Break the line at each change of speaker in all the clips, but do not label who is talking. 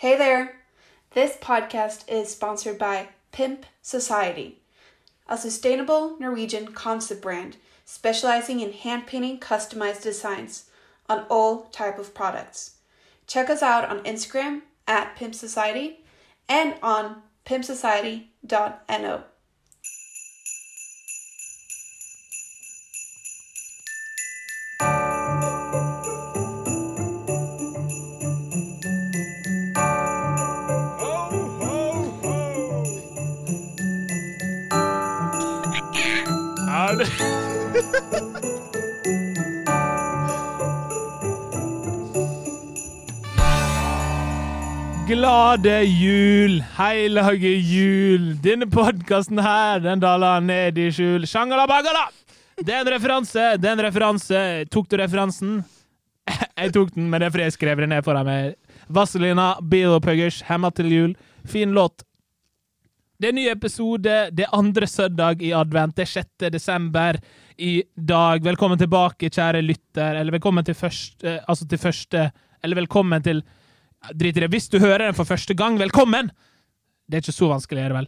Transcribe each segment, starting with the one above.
Hey there! This podcast is sponsored by Pimp Society, a sustainable Norwegian concept brand specializing in hand painting customized designs on all type of products. Check us out on Instagram at Pimp Society and on pimpsociety.no.
Ho, ho, ho! Er det Glade jul, hellige jul. Denne podkasten her, den daler ned i skjul. Shangala bagala! Det er en referanse, det er en referanse. Tok du referansen? Jeg tok den, men det er fordi jeg skrev det ned foran meg. Vazelina, Bilopuggers, Hemma til jul. Fin låt. Det er en ny episode. Det er andre søndag i advent. Det er 6. desember i dag. Velkommen tilbake, kjære lytter. Eller velkommen til første Altså til første Eller velkommen til Drit i det. Hvis du hører den for første gang, velkommen! Det er ikke så vanskelig, er det vel?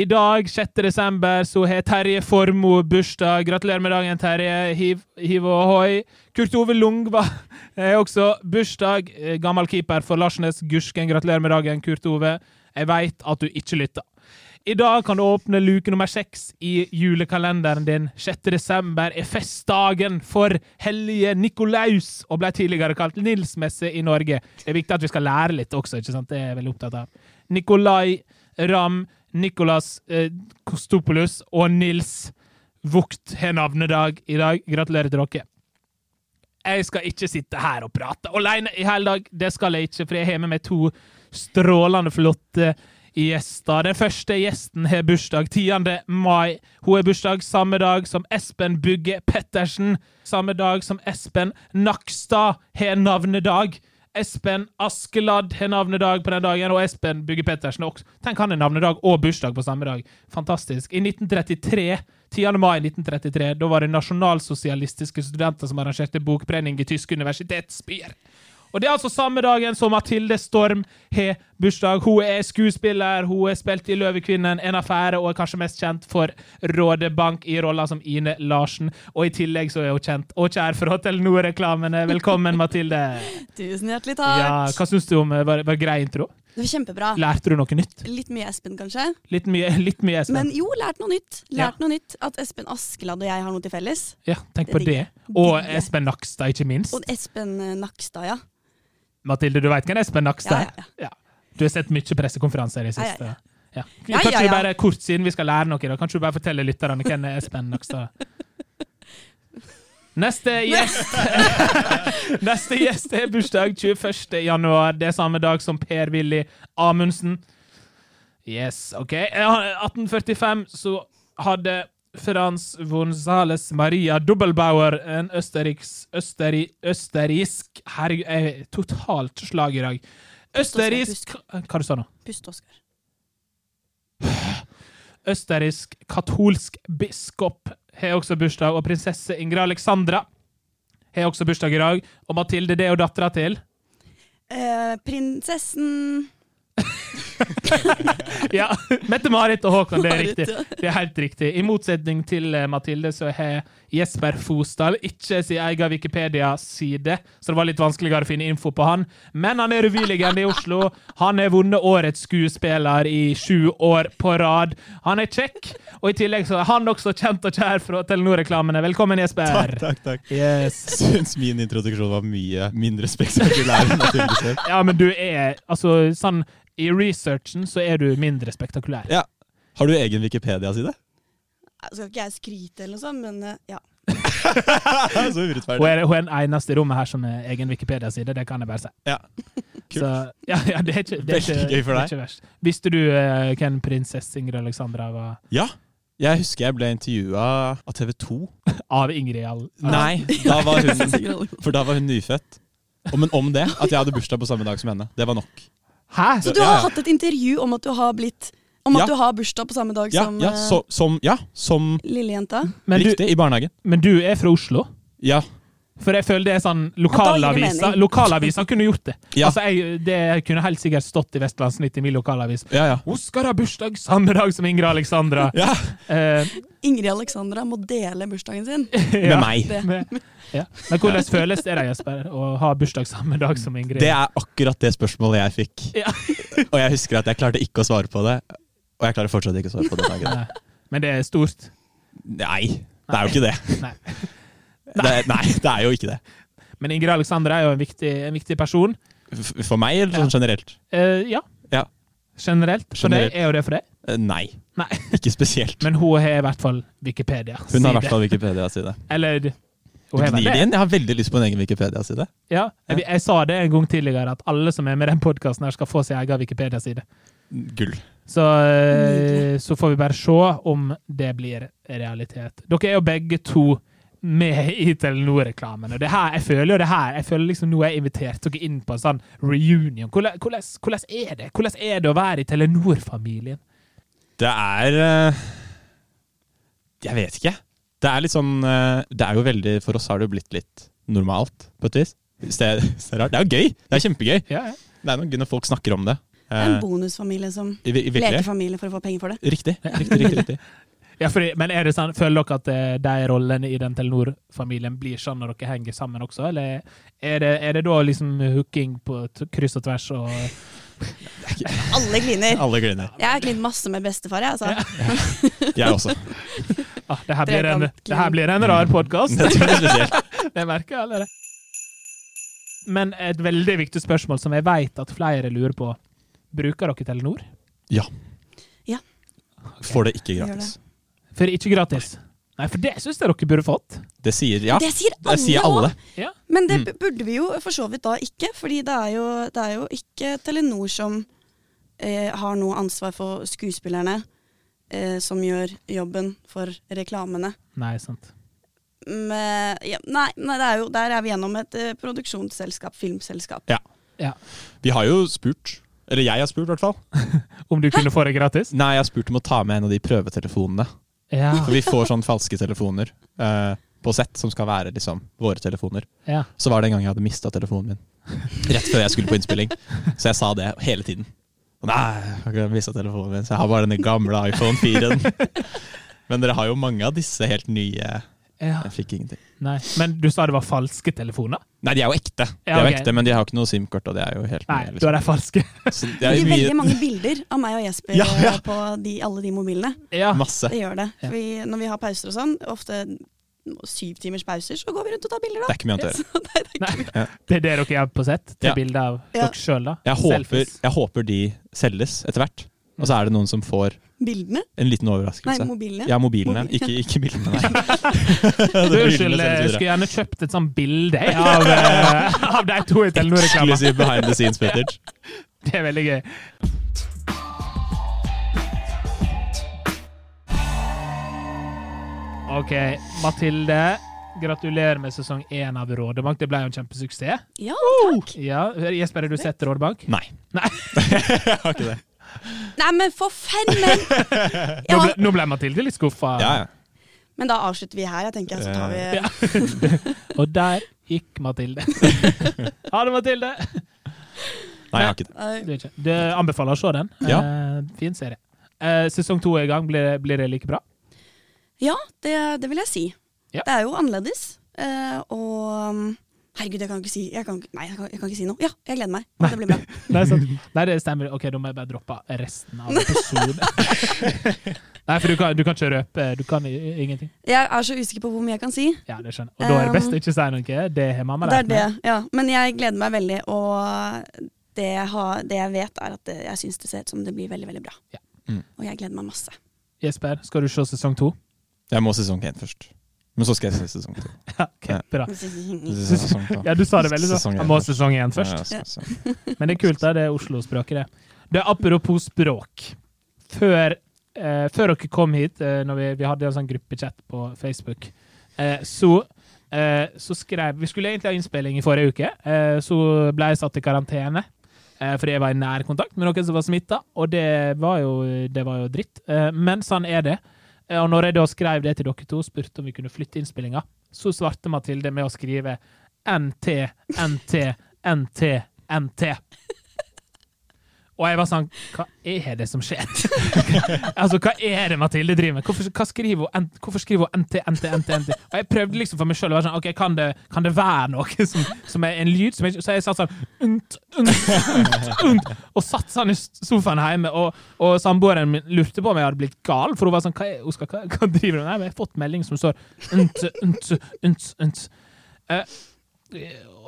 I dag, 6. desember, så har Terje Formoe bursdag. Gratulerer med dagen, Terje. Hiv, hiv og hoi. Kurt Ove Lungva er også bursdag. Eh, Gammel keeper for Larsnes Gursken. Gratulerer med dagen, Kurt Ove. Jeg veit at du ikke lytter. I dag kan du åpne luke nummer seks i julekalenderen din. 6. desember er festdagen for hellige Nikolaus, og ble tidligere kalt Nils-messe i Norge. Det er viktig at vi skal lære litt også, ikke sant? Det er jeg veldig opptatt av. Nikolai Ram, Nikolas eh, Kostopoulos og Nils Vogt har navnedag i dag. Gratulerer til dere. Jeg skal ikke sitte her og prate alene i hele dag. Det skal jeg ikke, for jeg har med meg to strålende flotte gjester. Den første gjesten har bursdag 10. mai. Hun har bursdag samme dag som Espen Bugge Pettersen. Samme dag som Espen Nakstad har navnedag. Espen Askeladd har navnedag på den dagen, og Espen Bugge Pettersen også. Tenk, han har navnedag og bursdag på samme dag. Fantastisk. I 1933, 10. mai 1933, da var det nasjonalsosialistiske studenter som arrangerte bokbrenning i tyske universitetsbyer. Og det er altså samme dagen som Mathilde Storm har bursdag. Hun er skuespiller, hun har spilt i Løvekvinnen, En affære og er kanskje mest kjent for Råde Bank i rolla som Ine Larsen. Og i tillegg så er hun kjent og kjær for Telenor-reklamene. Velkommen, Mathilde.
Tusen hjertelig
Ja,
takk.
hva syns du om eh, var, var grei intro?
Det var kjempebra.
Lærte du noe nytt?
Litt mye Espen, kanskje.
Litt mye, litt mye Espen.
Men jo, lært noe nytt.
Ja.
Lært noe nytt At Espen Askeladd og jeg har noe til felles.
ja, tenk
det
på det.
digger
Og
Digger.
Espen Nakstad, ikke minst.
Og Espen eh, Nakstad, ja.
Mathilde, du veit hvem Espen Nakstad er?
Ja,
Ja. Du har sett mye pressekonferanser i det
Ja, ja,
siste.
ja.
Ja.
Ja,
Kanskje
ja,
du
ja.
bare kort siden vi skal lære noe, i dag, kanskje du bare forteller lytterne hvem er Espen Nakstad Neste gjest Neste gjest er bursdag 21. januar. Det er samme dag som Per-Willy Amundsen. Yes, OK. Eh, 1845 så hadde Frans Gonzales Maria Dobbelbauer, en østerriks, østeri, østerriksk Herregud, jeg er totalt slag i dag. Østerriksk Hva du sa du nå?
Pust, Oskar.
østerriksk katolsk biskop har også bursdag, og prinsesse Ingrid Alexandra har også bursdag i dag. Og Mathilde, det er jo dattera til.
Eh, prinsessen
Ja, Mette-Marit og Håkon, det er
Marit,
riktig. Det er helt riktig. I motsetning til eh, Mathilde, så har Jesper Fosdal ikke sin egen Wikipedia-side, så det var litt vanskeligere å finne info på han. Men han er revylegende i Oslo. Han har vunnet Årets skuespiller i sju år på rad. Han er kjekk, og i tillegg så er han også kjent og kjær fra Telenor-reklamene. Velkommen, Jesper.
Takk, takk, takk. Syns min introduksjon var mye mindre spektakulær enn Mathilde selv.
Ja, men du er Altså, sånn i researchen så er du mindre spektakulær.
Ja. Har du egen Wikipedia-side?
Eh, Skal ikke jeg skryte eller noe sånt, men eh, ja.
Så
Hun
urettferdig.
er, hun er den eneste i rommet her som er egen Wikipedia-side, det kan jeg bare si.
Ja. Kult.
Så, ja, ja, det er ikke, det er
Veldig
ikke,
gøy
det
for
er
deg.
ikke verst. Visste du eh, hvem prinsesse Ingrid Alexandra var?
ja. Jeg husker jeg ble intervjua av TV 2.
Av Ingrid Al...
Nei, da var hun,
Sikkert over.
for da var hun nyfødt. Og- Men om det, at jeg hadde bursdag på samme dag som henne. Det var nok.
Hæ?
Så du
Ja,
har
ja.
hatt et intervju om at du har blitt Om at
Ja.
du har bursdag på samme dag
Ja,
som
ja,
eh,
så, som, ja, som
lillejenta?
Men du,
riktig i barnehagen.
men du er fra Oslo?
Ja.
For jeg føler det er sånn
Ja, da gir det
Lokalavisa
mening.
Lokalavisa kunne gjort det.
Ja.
Altså, jeg, Det kunne helt sikkert stått i Vestlandsnytt i min lokalavis.
Ja, ja.
Hun skal ha bursdag samme dag som Ingrid Alexandra.
ja.
Eh,
Ingrid Alexandra må dele bursdagen sin.
Eh.
ja.
Med meg.
Det.
Med- Ja. Men hvordan føles det da, Jesper, å ha bursdag samme dag som Ingrid?
Det er akkurat det spørsmålet jeg fikk.
Ja.
og jeg husker at jeg klarte ikke å svare på det. Og jeg klarer fortsatt ikke å svare på det. Dagen.
Nei. Men det er stort.
Nei, det er jo ikke det.
Nei.
det er- nei, det er jo ikke det.
Men Ingrid Alexandra er jo en viktig, en viktig person.
F- For meg eller sånn generelt?
Eh, ja.
Ja.
Generelt. For
Generelt.
deg er jo det for deg.
Eh, Nei.
Nei.
Ikke spesielt.
Men hun har i hvert fall Wikipedia.
Hun har i
Side.
hvert fall Wikipedia-side.
Eller
Du
hun har vel
gnir
det.
det inn. Jeg har veldig lyst på en egen Wikipedia-side.
Ja, jeg, jeg sa det en gang tidligere, at alle som er med i den podkasten, skal få sin egen Wikipedia-side.
Gull.
Så, eh,
Nydelig.
så får vi bare se om det blir realitet. Dere er jo begge to med i Telenor-reklamen. og det her, Jeg føler jo det her, jeg føler liksom nå har jeg invitert dere inn på en sånn reunion. Hvordan, hvordan, hvordan er det Hvordan er det å være i Telenor-familien?
Det er eh, Jeg vet ikke. Det er litt sånn eh, Det er jo veldig For oss har det jo blitt litt normalt, på et vis. Hvis det, hvis det er rart. Det er jo gøy! Det er kjempegøy.
Ja, ja.
Det er noe gøy når folk snakker om
Det
det.
er en
Eh,
bonusfamilie som
i, i, virkelig.
lekefamilie for å få penger for det.
Riktig. Riktig, riktig, riktig.
Ja, fordi, men er det sånn, Føler dere at eh, de rollene i den Telenor-familien blir sånn når dere henger sammen også, eller er det, er det da liksom hooking på t kryss og tvers og
Alle kliner.
Alle gliner.
Jeg har klint masse med bestefar, jeg, altså.
Jeg også.
ah, det, her blir en, det her blir en rar podkast!
Det er spesielt.
Det merker jeg allerede. Men et veldig viktig spørsmål som jeg vet at flere lurer på. Bruker dere Telenor?
Får det ikke
Gjør
gratis.
For ikke gratis. Nei, for det syns jeg dere burde fått.
Det sier ja.
Det sier
Det sier alle.
alle. også.
Ja.
Men det
Mm.
bu- burde vi jo for så vidt da ikke, fordi det er jo, det er jo ikke Telenor som eh, har noe ansvar for skuespillerne eh, som gjør jobben for reklamene.
Nei, sant.
Med, ja, nei, nei det er jo, der er vi gjennom et eh, produksjonsselskap, filmselskap.
Vi har jo spurt. Eller jeg har spurt, i hvert fall.
Om du kunne få det gratis?
Nei, jeg har spurt om å ta med en av de prøvetelefonene.
Ja.
For vi får sånn falske telefoner eh, på sett som skal være liksom våre telefoner.
ja.
Så var det en gang jeg hadde mista telefonen min. Rett før jeg skulle på innspilling. Så jeg sa det hele tiden. Nei, jeg har ikke mistet telefonen min, så jeg har bare den gamle iPhone 4-en. Men dere har jo mange av disse helt nye.
ja.
Jeg fikk ingenting.
Nei. Men du sa det var falske telefoner?
Nei, de er jo ekte, de
Ja,
er jo
ok.
ekte men de har jo ikke noe SIM-kort. og det er jo helt
Nei,
nye,
du
liksom.
er de falske.
Så det
Det
er
gir
jo
veldig
mye,
mange bilder av meg og Jesper
Ja, ja.
eh, på de, alle de mobilene.
Ja.
masse.
Det gjør det.
Ja.
Vi, når vi har pauser og sånn, ofte syv timers pauser, så går vi rundt og tar bilder
Det
da.
er ikke mye annet å gjøre.
Så det er
Nei. Det er det dere gjør på sett? Til
Ja.
bilder av
Ja.
dere sjøl, da?
Jeg håper,
Selfies.
jeg håper de selges etter hvert. Og så er det noen som får
bildene.
en liten
Nei,
overraskelse.
mobilene.
Ja, mobilene.
Mobil-
Ikke, ikke bildene, nei.
Unnskyld, eh, jeg skulle gjerne kjøpt et sånt bilde jeg, av, eh, av de to i Telenor-reklama.
Eksklusiv behind the scenes footage.
Det er veldig gøy. OK, Mathilde. Gratulerer med sesong én av Rådebank. Det ble jo en kjempesuksess.
Ja, takk.
Ja, Jesper, har du sett Rådebank?
Nei.
Nei.
Jeg har ikke det.
Nei, men for fanden!
Nå
Ja,
ble, nå ble Mathilde litt skuffa.
Ja, ja.
men da avslutter vi her, jeg tenker jeg, så tar
Eh,
vi
Og der gikk Mathilde. ha det, Mathilde!
Nei, jeg har ikke det.
Nei.
Du, er ikke- du anbefaler å se den.
Ja.
Eh, fin serie. Eh, sesong to er i gang. Blir, blir det like bra?
Ja, det, det vil jeg si.
Ja.
Det er jo annerledes. eh, og um, herregud, jeg kan ikke si jeg kan, ikke- Nei, jeg kan, jeg kan ikke si noe. Ja, jeg gleder meg. Det blir bra.
Nei, sant. Nei, det stemmer. Ok, da må jeg bare droppe resten av episoden. Nei, for du kan, du kan ikke røpe Du kan i- ingenting.
Jeg er så usikker på hvor mye jeg kan si.
Ja, det skjønner jeg. Og da er det best å ikke si noe. Det har mamma
Um, Det er
lært meg.
det, ja. Men jeg gleder meg veldig, og eh, det jeg, har, det jeg vet, er at det, jeg syns det ser ut som det blir veldig, veldig bra.
Ja.
Mm.
Og jeg gleder meg masse.
Jesper, skal du se sesong to?
Jeg må sesong én først. Men så skal jeg se sesong to.
Ja, ok, bra.
Sesong to.
Ja, du sa det veldig sånn.
Sesong én
Jeg må
først.
sesong én
Ja,
først.
så- så-
Men det er kult, da. Det er Oslo-språket, det. Det er Apropos språk. Før, eh, før dere kom hit, eh, når vi, vi hadde en sånn gruppechat på Facebook, eh, så, eh, så skrev Vi skulle egentlig ha innspilling i forrige uke, eh, så ble jeg satt i karantene. Eh, fordi jeg var i nær kontakt med noen som var smitta, og det var jo, det var jo dritt. Eh, men sånn er det. Eh, og når jeg da skrev det til dere to, spurte om vi kunne flytte innspillinga, så svarte Mathilde med å skrive NT, NT, NT, NT. Og jeg var sånn Hva er det som skjer? altså, hva er det Mathilde driver med? Hvorfor, hva skriver hun, N- hvorfor skriver hun NT, NT, NT? NT? Og jeg prøvde liksom for meg sjøl. Sånn, ok, kan, det- kan det være noe som, som er en lyd? Som jeg, ikke- så jeg satt sånn unt, unt, unt, unt, Og satt sånn i sofaen hjemme, og, og samboeren min lurte på om jeg hadde blitt gal. For hun var sånn Hva, er, Oskar, hva, hva driver du med? Nei, men Jeg har fått melding som står unt, unt, unt, unt. Eh,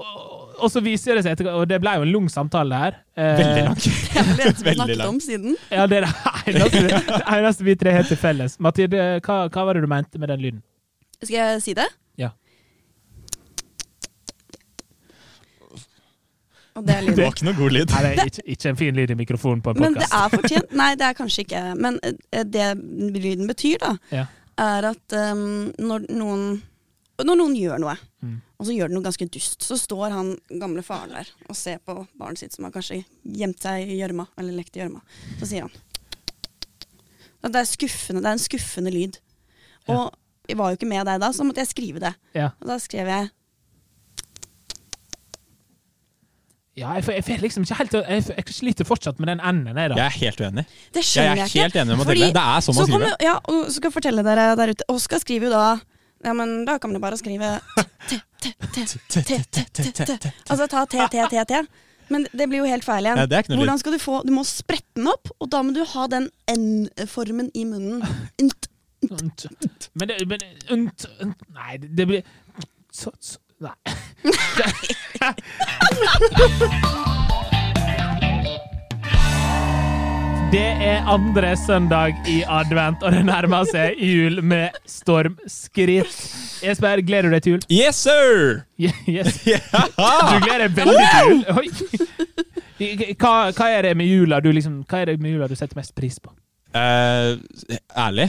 og, og så viser det seg etterpå, og det ble jo en lang samtale her. Eh,
Veldig lang.
Vi
Veldig
snakket
lang.
om siden.
ja, det er det eneste, det eneste vi tre har til felles. Mathilde, hva, hva var det du mente med den lyden?
Skal jeg si det?
Ja.
Og det er
Det
lyden.
var ikke noe god lyd.
Nei, det er ikke, ikke en fin lyd i mikrofonen på en
Men det
podkast.
er fortjent. Nei, det er kanskje ikke Men eh, det lyden betyr, da,
Ja.
er at ehm, når noen Når noen gjør noe,
Mm.
og så gjør det noe ganske dust, så står han gamle faren der og ser på barnet sitt som har kanskje gjemt seg i gjørma, eller lekt i gjørma. Så sier han at det er skuffende. Det er en skuffende lyd. Og jeg var jo ikke med deg da, så måtte jeg skrive det.
Ja.
Og da skrev jeg
Ja, jeg, får- jeg, får liksom ikke helt, jeg, får- jeg sliter fortsatt med den N-en. Jeg, da.
Jeg er helt uenig.
Det
Jeg
skjønner
er
jeg, ikke.
helt enig med Mathilde.
Fordi-
Det er sånn
Så
man skriver.
kommer, ja, og så skal jeg fortelle dere der ute. Oskar skriver jo da Ja, men da kan du bare skrive T-T-T-T-T-T. Altså ta T-T-T-T. Men det blir jo helt feil igjen.
Nei, det er ikke noe lyd.
Hvordan skal Du få Du må sprette den opp, og da må du ha den N-formen i munnen. Nt.
Unt, unt. Men det men, unt, unt. Nei, det det blir så, så, Nei. Det er andre søndag i advent, og det nærmer seg jul med stormskritt. Jesper, gleder du deg til jul?
Yes, sir!
Je- Yes. Du gleder deg veldig til jul. Oi. Hva, hva er det med jula du liksom, hva er det med jula du setter mest pris på?
Eh, ærlig?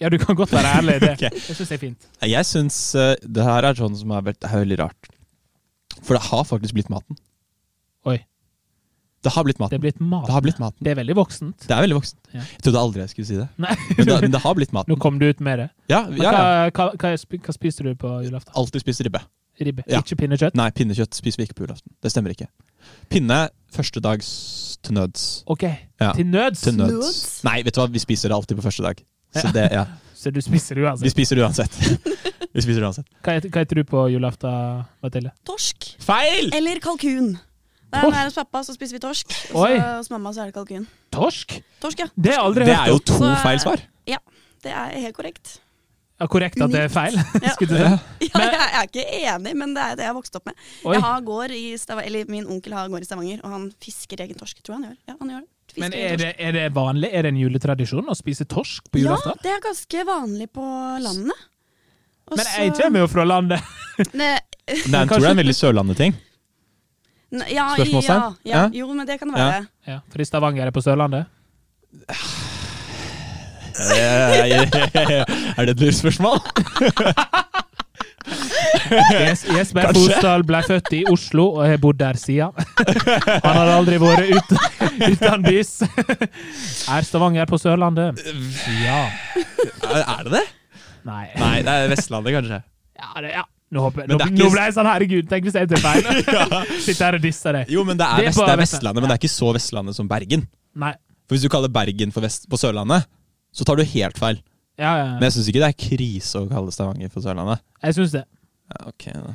Ja, du kan godt være ærlig i det.
Ok.
Det syns jeg er fint.
Jeg syns eh, det her er sånn som er, veld- det er veldig rart. For det har faktisk blitt maten.
Oi.
Det har blitt
Det
maten.
er blitt mat.
Det har blitt maten.
Det er veldig voksent.
Det er veldig voksent.
Ja.
Jeg trodde aldri jeg skulle si det.
Nei,
Men det, men det har blitt
nå
maten.
kom du ut med det.
Ja,
Men
ja, ja.
Hva, hva, hva, sp- hva spiste du på julaften?
Alltid spist ribbe.
Ribbe?
Ja.
Ikke pinnekjøtt?
Nei, pinnekjøtt spiser vi ikke på julaften. Det stemmer ikke. Pinne første dags til nøds.
OK.
Ja.
Til nøds?
Til nøds.
Nøds?
Nei, vet du hva, vi spiser det alltid på første dag. Så det, ja.
Så du spiser det
Vi
uansett?
spiser det uansett. Vi spiser det uansett.
Hva het- hva heter du på julaften, Mathilde?
Torsk
Feil!
eller kalkun. Det er
Torsk?
nær hos pappa, så spiser vi torsk. Og
Oi.
så hos mamma så er det kalkun.
Torsk?
Torsk, ja.
Det har jeg aldri
Det er
hørt
jo
om.
to
Så er-
feil svar.
Det er helt korrekt.
Ja, korrekt at det er feil?
Ja.
Skulle du si.
Ja.
Ja,
Men-
jeg er ikke enig, men det er det jeg har vokst opp med.
Oi.
Jeg har gård i Stavanger, eller Min onkel har gård i Stavanger, og han fisker egen torsk. Tror jeg han gjør. Ja, han gjør det. Fisker
Men
egen
er
torsk.
det, er det vanlig? Er det en juletradisjon å spise torsk på julaften?
Ja, det er ganske vanlig på landet. Og
Men jeg
så-
kommer jo fra landet.
Ne,
Men jeg tror det er en veldig Sørlandet-ting.
ne, ja, ja,
Spørsmålstegn?
ja,
Ja.
jo, men det kan det være.
Ja, for i Stavanger er det på Sørlandet.
Eh, Er det et lurespørsmål?
Jes- Jesper
Kanskje.
Fosdal ble født i Oslo og har bodd der siden. Han har aldri vært ut- utenbys. Er Stavanger på Sørlandet? Ja.
Er det det?
Nei.
Nei, det er Vestlandet, kanskje.
Ja, det, ja. Nå, håper, jeg-
Men
nå,
det er ikke-
nå ble jeg sånn herregud, tenk hvis jeg tar feil. Sitter her og disser deg.
Jo, men det
Det
er,
er
vest,
bare
det
Vestlandet.
er Vestlandet, men det er ikke så Vestlandet som Bergen.
Nei.
For hvis du kaller Bergen for vest, på Sørlandet, så tar du helt feil.
Ja, ja,
Men
ja.
jeg syns ikke det er krise å kalle Stavanger for Sørlandet.
Jeg syns det.
Ja, ok da.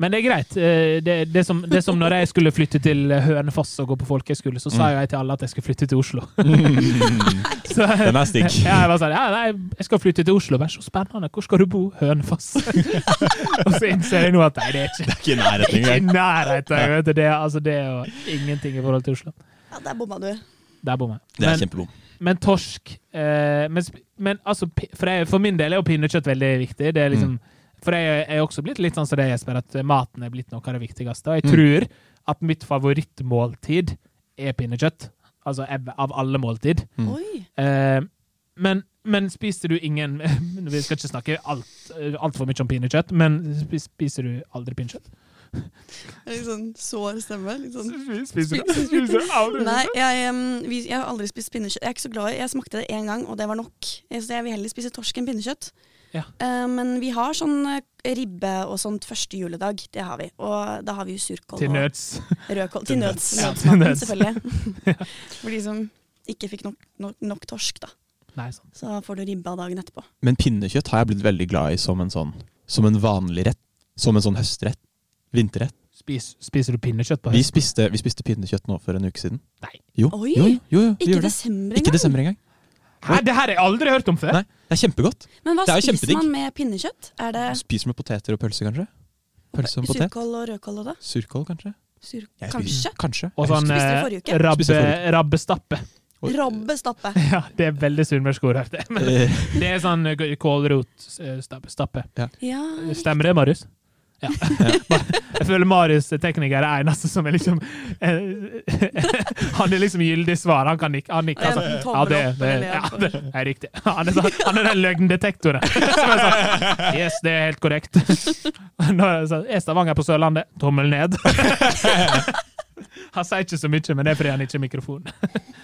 Men det er greit. Eh, Det, det, som, det som når jeg skulle flytte til eh, Hønefoss og gå på folkehøyskole, så sa jo
Mm.
jeg til alle at jeg skulle flytte til Oslo. Så,
Den er stygg.
Ja, jeg var sånn, ja, nei, jeg skal flytte til Oslo. Vær så spennende. Hvor skal du bo? Hønefoss. og så innser jeg nå at nei, det er ikke,
Det er ikke i nærheten
ikke i
engang.
nærheten. Vet du. Det, er- altså, det er jo ingenting i forhold til Oslo.
Ja, Der bomma du.
Der bor jeg.
Det er
Men,
kjempebom.
men torsk eh, men, sp- men altså, pi- for, jeg, for min del er jo pinnekjøtt veldig viktig. Det er liksom,
Mm.
For jeg er jo også blitt litt sånn som deg, Jesper, at maten er blitt noe av det viktigste. Og
Mm.
jeg tror at mitt favorittmåltid er pinnekjøtt. Altså jeg- av alle måltid.
Oi.
Eh, men, men spiste du ingen Vi skal ikke snakke altfor alt for mye om pinnekjøtt, men spi- spiser du aldri pinnekjøtt?
Litt sånn sår stemme. Litt sånn.
Spiser du, spiser du aldri
Nei, jeg, em, vi, jeg har aldri spist pinnekjøtt. Jeg er ikke så glad i Jeg smakte det én gang, og det var nok. Så jeg vil heller spise torsk enn pinnekjøtt.
Ja.
Eh, men vi har sånn eh, ribbe og sånt første juledag. Det har vi. Og da har vi jo surkål
Til
og
nøds.
rødkål.
Til
Til nøds.
nøds. Ja, til
Nødsmaten,
nøds.
selvfølgelig. For de som ikke fikk nok, nok, nok torsk, da.
Nei, sånn. sant.
Så får du ribba dagen etterpå.
Men pinnekjøtt har jeg blitt veldig glad i som en sånn Som en vanlig rett. Som en sånn høstrett. Vinterrett.
Spis, spiser du pinnekjøtt på
Vi
høst?
spiste, vi spiste pinnekjøtt nå for en uke siden.
Nei.
Jo,
Oi!
jo, jo, jo, vi
Ikke
gjorde det.
desember
Ikke
engang.
desember engang.
Hæ, det her har jeg aldri hørt om før!
Nei, det er kjempegodt.
Men hva
Det er jo
spiser
kjempedigg.
man med pinnekjøtt? Er det
Spiser med poteter og pølse, kanskje. Pølse og potet.
surkål og rødkål og da?
Surkål, kanskje.
Sur
Jeg
Kanskje?
spiser- Kanskje.
Og sånn
Spiste det
eh,
forrige uke.
rabbe,
Spiste det forrige
rabbestappe.
Oi.
Robbestappe.
Ja, det er veldig sunnmørsk ord, hørte jeg. Men
Eh,
Det er sånn eh, kålrotstappe. Stappe.
Ja,
Stemmer det, Marius? Ja. Jeg føler Marius tekniker er eneste som er liksom eh, Han er liksom gyldig svar. Han kan nikke. Han nikker,
Enten
altså.
tommel
Ja, det,
opp
det,
eller
ja,
opp.
det er riktig. Han er, sånn, han er den løgndetektoren. Som er sånn, yes, det er helt korrekt. Nå er det sånn, er Stavanger på Sørlandet? Tommel ned. Han sier ikke så mye, men det er fordi han ikke har mikrofon.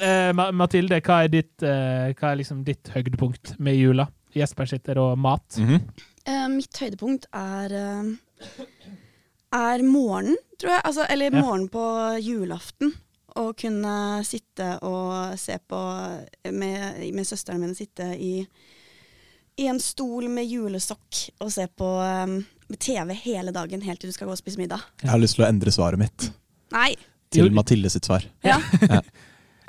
Eh, Ma- Mathilde, hva er, ditt, eh, hva er liksom ditt høydepunkt med jula? Jesper sitter og mat.
mhm.
Eh, mitt høydepunkt er eh, er morgenen, tror jeg. Altså, eller
Ja.
morgenen på julaften. Å kunne sitte og se på med, med søsteren min sitte i, i en stol med julesokk og se på eh, TV hele dagen helt til du skal gå og spise middag.
Jeg har lyst til å endre svaret mitt
Nei!
til
Jo.
Mathilde sitt svar.
Ja.
Ja.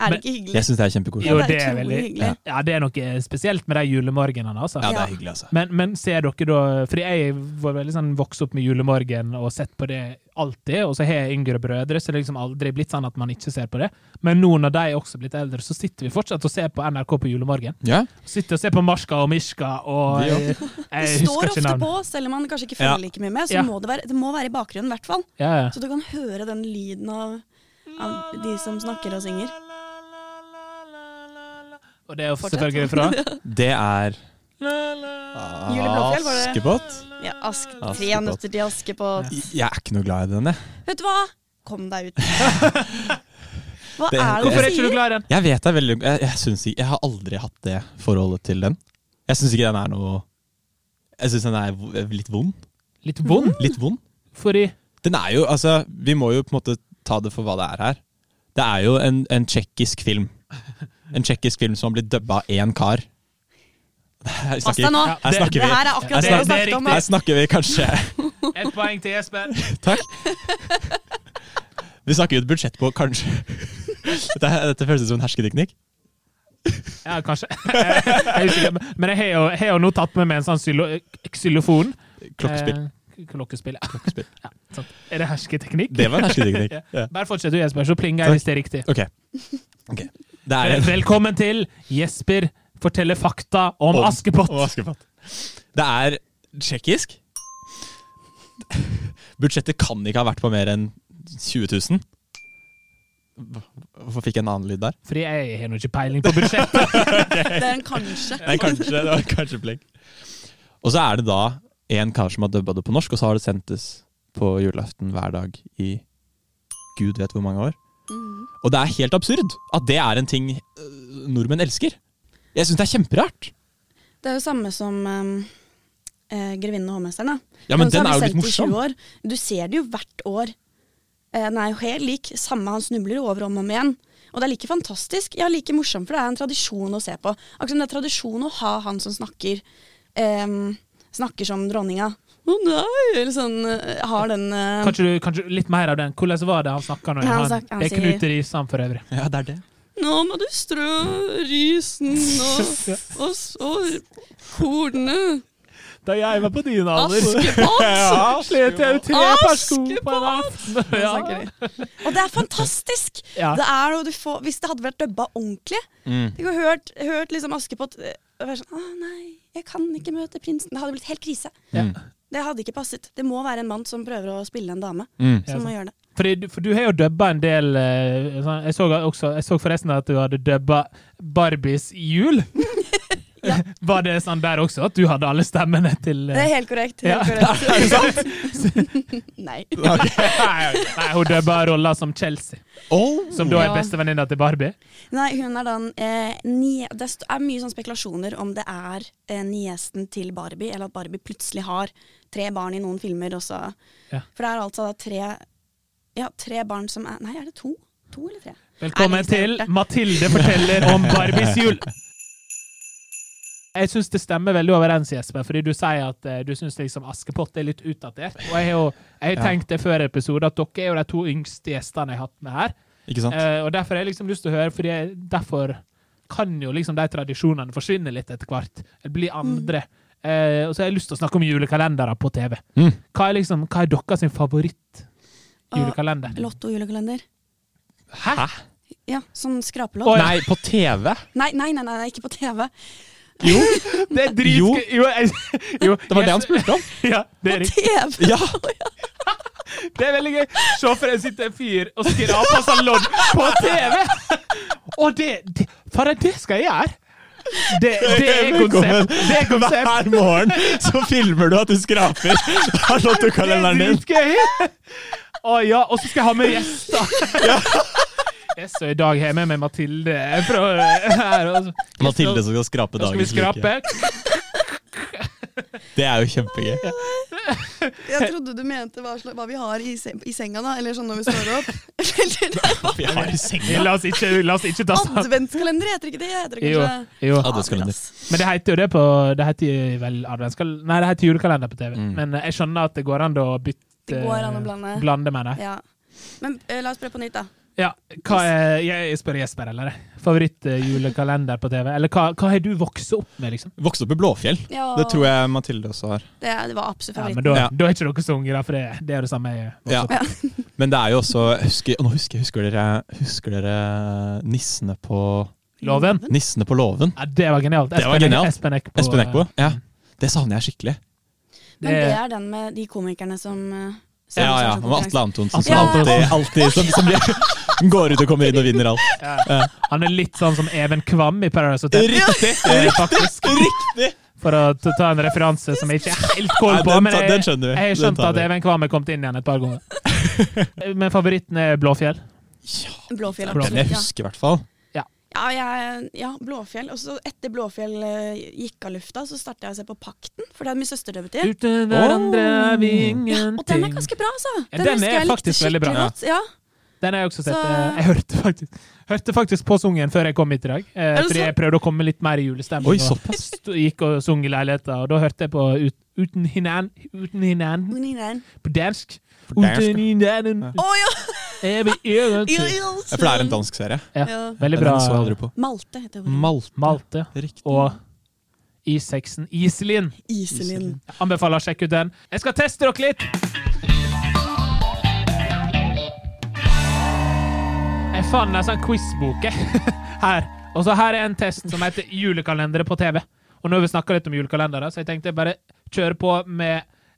Er
Men-
det ikke hyggelig?
Jeg syns det er kjempekoselig.
Ja, det
Jo,
er utrolig
veldig-
hyggelig.
Ja, det er noe spesielt med de julemorgenene, altså.
Ja, det er hyggelig, altså.
Men, men ser dere da Fordi jeg var veldig sånn vokst opp med julemorgen og sett på det alltid, og så har jeg yngre brødre, så det er liksom aldri blitt sånn at man ikke ser på det. Men nå når de er også blitt eldre, så sitter vi fortsatt og ser på NRK på julemorgen.
Ja,
Sitter og ser på Marska og Mishka og
Ja.
jeg,
Det
jeg
står
husker ikke
ofte på,
navnet.
selv om man kanskje ikke
Ja.
følger like mye med. Så
Ja.
må det, være, det må være i bakgrunnen, i hvert fall.
Ja, ja.
Så du kan høre den lyden av, av de som snakker og synger.
Og det er jo
Fortsett.
selvfølgelig fra
det er
Ah. Julie Blåfjell, var det-
Askepott.
Ja, ask,
Askepott.
tre nøtter til Askepott.
Jeg er ikke noe glad i den, jeg.
Vet du hva? Kom deg ut. Hva
Det-
er det
Hvorfor er
du
ikke du
sier?
glad i den?
Jeg vet det er veldig jeg, jeg, synes ikke, jeg har aldri hatt det forholdet til den. Jeg syns ikke den er noe Jeg syns den er v- litt vond.
Litt vond,
Litt vond.
fordi
Den er jo Altså, vi må jo på en måte ta det for hva det er her. Det er jo en, en tsjekkisk film. En tsjekkisk film som har blitt dubba av én kar. Her
Pass deg nå.
Ja,
her snakker
Det
vi,
her er akkurat det
det-
vi
det er
snakket om.
riktig.
her snakker vi kanskje
Ett poeng til Jesper.
Takk. Vi snakker jo et budsjett på kanskje Dette, dette føles ut som en hersketeknikk.
Ja, kanskje. Jeg husker ikke, Men jeg har jo- jeg har jo nå tatt med meg en sånn xylo- xylofon.
Klokkespill.
Eh, klokkespill, ja.
Klokkespill.
ja sant. Er det hersketeknikk?
Det var en hersketeknikk.
Ja.
Ja.
Bare fortsett du, Jesper, så plinger jeg hvis det er riktig.
Ok. Ok. Det er en
Velkommen til Jesper forteller fakta om,
Om-
Askepott.
Og Askepott. Det er tsjekkisk. Budsjettet kan ikke ha vært på mer enn 20 000. Hva- Hvorfor fikk jeg en annen lyd der?
Fordi jeg har nå ikke peiling på budsjettet.
Det er en kanskje.
Nei, kanskje, det var kanskje blink. Og så er det da en kar som har dubba det på norsk, og så har det sendtes på julaften hver dag i gud vet hvor mange år.
Mm.
Og det er helt absurd at det er en ting øh, nordmenn elsker. Jeg syns det er kjemperart.
Det er jo samme som um, eh, 'Grevinnen og hovmesteren'. da.
Ja, men
så
den
har
er
vi
jo litt
sendt i 20
morsom.
År. Du ser det jo hvert år. Eh, den er jo helt lik. Samme han snubler jo over om og om igjen. Og det er like fantastisk. Ja, like morsomt, for det er en tradisjon å se på. Akkurat som det er tradisjon å ha han som snakker em, Snakker som dronninga. Å nei! Eller sånn eh, Har den eh,
Kanskje du, kanskje litt mer av den. Hvordan var det han snakka nå?
Ja, han snak- han
det er
sier-
Knut Risan for øvrig.
Ja, det er det.
Nå må du strø risen og, og, s- og kornene.
Da jeg var på din
Askepott!
slet jeg ut
tre par sko på en Sånn
Ja.
snakker de. Og det er fantastisk!
Ja.
Det er noe du får, hvis det hadde vært dubba ordentlig
Mm.
Jeg har hørt, hørt liksom Askepott eh, være sånn Å nei, jeg kan ikke møte prinsen. Det hadde blitt helt krise.
Mm.
Det hadde ikke passet. Det må være en mann som prøver å spille en dame,
Mm.
Ja,
som må gjøre det.
Fordi, du- for du har jo dubba en del eh, sånn- jeg så, også, jeg så forresten at du hadde dubba Barbies jul. Var det sånn der også, at du hadde alle stemmene til
Det
eh,
er helt korrekt.
Ja.
Helt korrekt.
Er det sant?
Nei.
Nei, nei, hun dubba rolla som Chelsea,
Oh.
som da er
Ja.
bestevenninna til Barbie.
Nei, hun er den eh, nie- Det st- er mye sånn spekulasjoner om det er eh, niesen til Barbie, eller at Barbie plutselig har tre barn i noen filmer også.
Ja.
For det er altså da tre Ja, tre barn som er Nei, er det to? To eller tre?
Velkommen
Er det
til
ikke sant?
Mathilde forteller om Barbies jul. Jeg syns det stemmer veldig overens, Jesper, fordi du sier at eh, du syns liksom Askepott er litt utdatert. Og jeg har jo jeg har
Ja.
tenkt det før episode, at dere er jo de to yngste gjestene jeg har hatt med her.
Ikke sant?
Eh, og derfor har jeg liksom lyst til å høre, fordi jeg, derfor kan jo liksom de tradisjonene forsvinne litt etter hvert. Eller bli andre. Eh, og så har jeg lyst til å snakke om julekalendere på TV.
Mm.
Hva er liksom, hva er deres favoritt-julekalender?
Lotto-julekalender.
Hæ?
Ja, sånn
Oi.
skrapelott.
Nei, på TV?
Nei, nei, nei, nei, nei, ikke på TV.
Jo,
Det er dritskøy!
Jo.
Jo, jeg- jo,
det var det han
jeg-
spurte om.
Ja, det er
På
riktig.
TV!
Ja,
Det er veldig gøy. Se for deg sitter en fyr og skraper seg lodd på TV! Og det, det Fader, det skal jeg gjøre! Det, det er konsept. Det er konsept.
Hver morgen så filmer du at du skraper av
Det er
lottokalenderen din.
dritgøy! Å ja, og så skal jeg ha med gjester. Yes, og I dag har jeg med meg Mathilde fra her. og så-
Mathilde som skal skrape
Da skal vi
dagens lykke.
skrape.
Det er jo kjempegøy.
Jeg trodde du mente hva, sla- hva vi har i, se i senga, da. Eller sånn når vi står opp. Eller
Vi har i senga.
La oss ikke, la oss ikke ta sammen.
adventskalender heter ikke det? Heter det
Altså- Jo,
kanskje
jo.
Adventskalender.
Men det heter jo det på Det heter vel adventskal- Nei, det heter julekalender på TV.
Mm.
Men eh, jeg skjønner at det går an å bytte
Det går an å blande.
Blande, mener jeg.
Ja. Men eh, la oss prøve på nytt, da.
Ja, hva er, jeg jeg spør Jesper, eller? Favorittjulekalender på TV? Eller hva, hva har du vokst opp med, liksom?
Vokste opp i Blåfjell.
Ja,
Det tror jeg Mathilde også har.
Det, det var absolutt
Ja,
favoritten.
men da,
Ja.
da er ikke dere så unge, da, for det, det er det samme jeg vokste
Ja.
opp med.
Men det er jo også husker, Nå husker jeg husker dere, husker dere nissene på
Loven?
Nissene på låven?
Ja, det var genialt.
Det var
Espen-
genialt.
Espen eh, Eckbo.
Espen Eckbo? Ja. Det savner jeg skikkelig.
Men det er den med de komikerne som eh, som
Ja, ja.
som-
Han var Atle Antonsen
Atle
som
Antonsen.
alltid, alltid som, som blir- går ut og kommer inn og vinner alt.
Ja. Han er litt sånn som Even Kvam i Paradise Hotel.
Riktig!
eh, faktisk.
Riktig!
For å ta ta en referanse som jeg ikke er helt
Nei,
koll på.
den
Men
ta- den
jeg,
skjønner vi.
jeg har
Den
skjønt
tar
at
vi.
Even Kvam er kommet inn igjen et par ganger. Men favoritten er Blåfjell.
Blåfjell,
Blåfjell.
Den jeg
absolutt. Ja,
husker, i hvert fall.
ja, jeg, ja Blåfjell. Og så etter Blåfjell eh, gikk av lufta, så starta jeg å se på Pakten, for det hadde min søster døvet i.
Uten hverandre er vi
Og den er
ingenting.
ganske bra, altså!
Ja, den
husker
er
jeg likte
faktisk veldig bra.
skikkelig godt, Ja.
Den har jeg også sett.
Så-
Eh, Jeg hørte faktisk, hørte faktisk på sungen før jeg kom hit i dag. eh,
det
Fordi
sant?
jeg prøvde å komme litt mer i julestemning.
Oi,
og
såpass.
st- gikk og sung i leiligheten, og da hørte jeg på ut, Uten hinan, uten hinan
Ung i den.
på dansk.
For det er-
Uten hinan
Å ja!
er vi ingenting.
Ja, for det er en dansk serie.
Ja.
Veldig
Den
bra.
så jeg aldri på.
Malte heter hun.
Malte.
Malte
Riktig.
og Isaksen Iselin.
Iselin.
Jeg anbefaler å sjekke ut den. Jeg skal teste dere litt! Jeg fant en sånn quizbok jeg. her. Og så her er en test som heter Julekalendere på TV. Og nå har vi snakka litt om julekalendere, så jeg tenkte jeg bare kjøre på med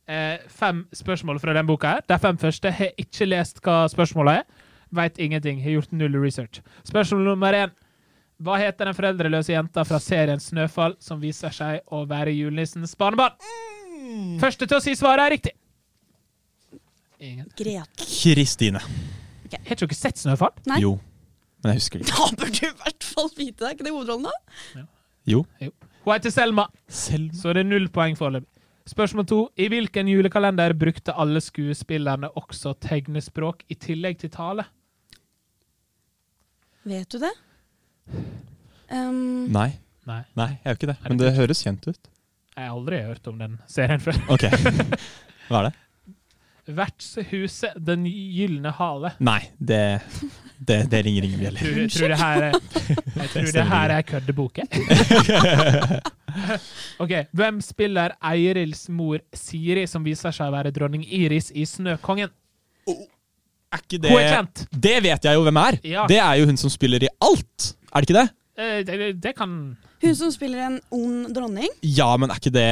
eh, fem spørsmål fra den boka her. De fem første har ikke lest hva spørsmålet er. Veit ingenting. Har gjort null research. Spørsmål nummer én. Hva heter den foreldreløse jenta fra serien Snøfall som viser seg å være julenissens barnebarn? Mm. Første til å si svaret er riktig. Ingen.
Grete.
Kristine.
Har ikke dere sett Snøfall?
Nei.
Jo. Men jeg husker det ikke.
Da bør du i hvert fall vite det! Er ikke det hovedrollen, da?
Jo.
Hun heter Selma,
Selv
så det er null poeng foreløpig. Spørsmål to. I hvilken julekalender brukte alle skuespillerne også tegnespråk i tillegg til tale?
Vet du det? Um,
Nei.
Nei,
Nei, jeg er jo ikke det. Men det høres kjent ut.
jeg har aldri hørt om den serien før.
Ok. Hva er det?
Vertshuset Den gylne hale.
Nei, det, det, det ringer ingen bjeller.
Tror, tror det her er, jeg tror det her er køddeboken. OK. Hvem spiller Eirils mor Siri, som viser seg å være dronning Iris i Snøkongen?
Er ikke
Hun er kjent!
Det vet jeg jo hvem er!
Ja.
Det er jo hun som spiller i alt! Er det ikke det?
Eh, Det, det, det kan
hun som spiller en ond dronning.
Ja, men er ikke det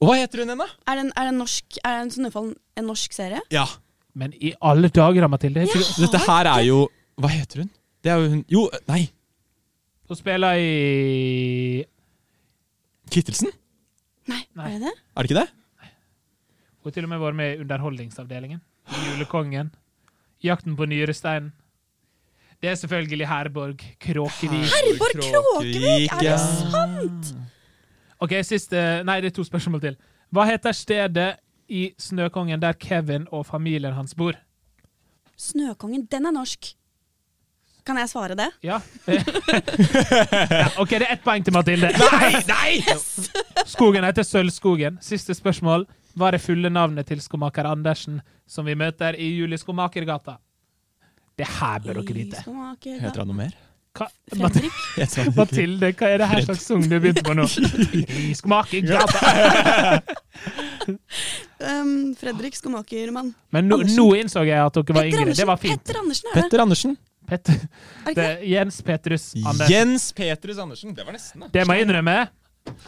Hva heter hun igjen, da?
Er den, er den norsk, er den Snøfall en norsk serie?
Ja.
Men i alle dager, da, Mathilde! Ikke,
Dette her er jo Hva heter hun? Det er jo hun Jo, nei.
Hun spiller i
Kittelsen?
Nei,
Nei.
er det det?
Er det ikke det?
Hun har til og med vært med i Underholdningsavdelingen. I Julekongen. Jakten på nyresteinen. Det er selvfølgelig Herborg Kråkevik.
Herborg Kråkevik! Er det
ja.
sant?!
Ok, siste Nei, det er to spørsmål til. Hva heter stedet i Snøkongen der Kevin og familien hans bor?
Snøkongen, den er norsk. Kan jeg svare det?
Ja. ja OK, det er ett poeng til Mathilde.
Nei! nei!
Skogen heter Sølvskogen. Siste spørsmål. Hva er det fulle navnet til skomaker Andersen, som vi møter i Juli Skomakergata? Det her bør dere vite.
Skomaker,
Heter han noe mer?
Hva, Mathilde,
Fredrik.
Heter han ikke-
Mathilde, hva er det her slags sang du begynte på nå? I Skomakergata.
Um, Fredrik Skomakermann.
Men nå, nå innså jeg at dere var
Petter
yngre.
Andersen!
Det var fint.
Petter Andersen er det!
Petter Andersen.
Petter.
Er det
Det
ikke det?
er Jens Petrus Andersen.
Jens Petrus Andersen. Det var nesten, da.
Det må jeg innrømme.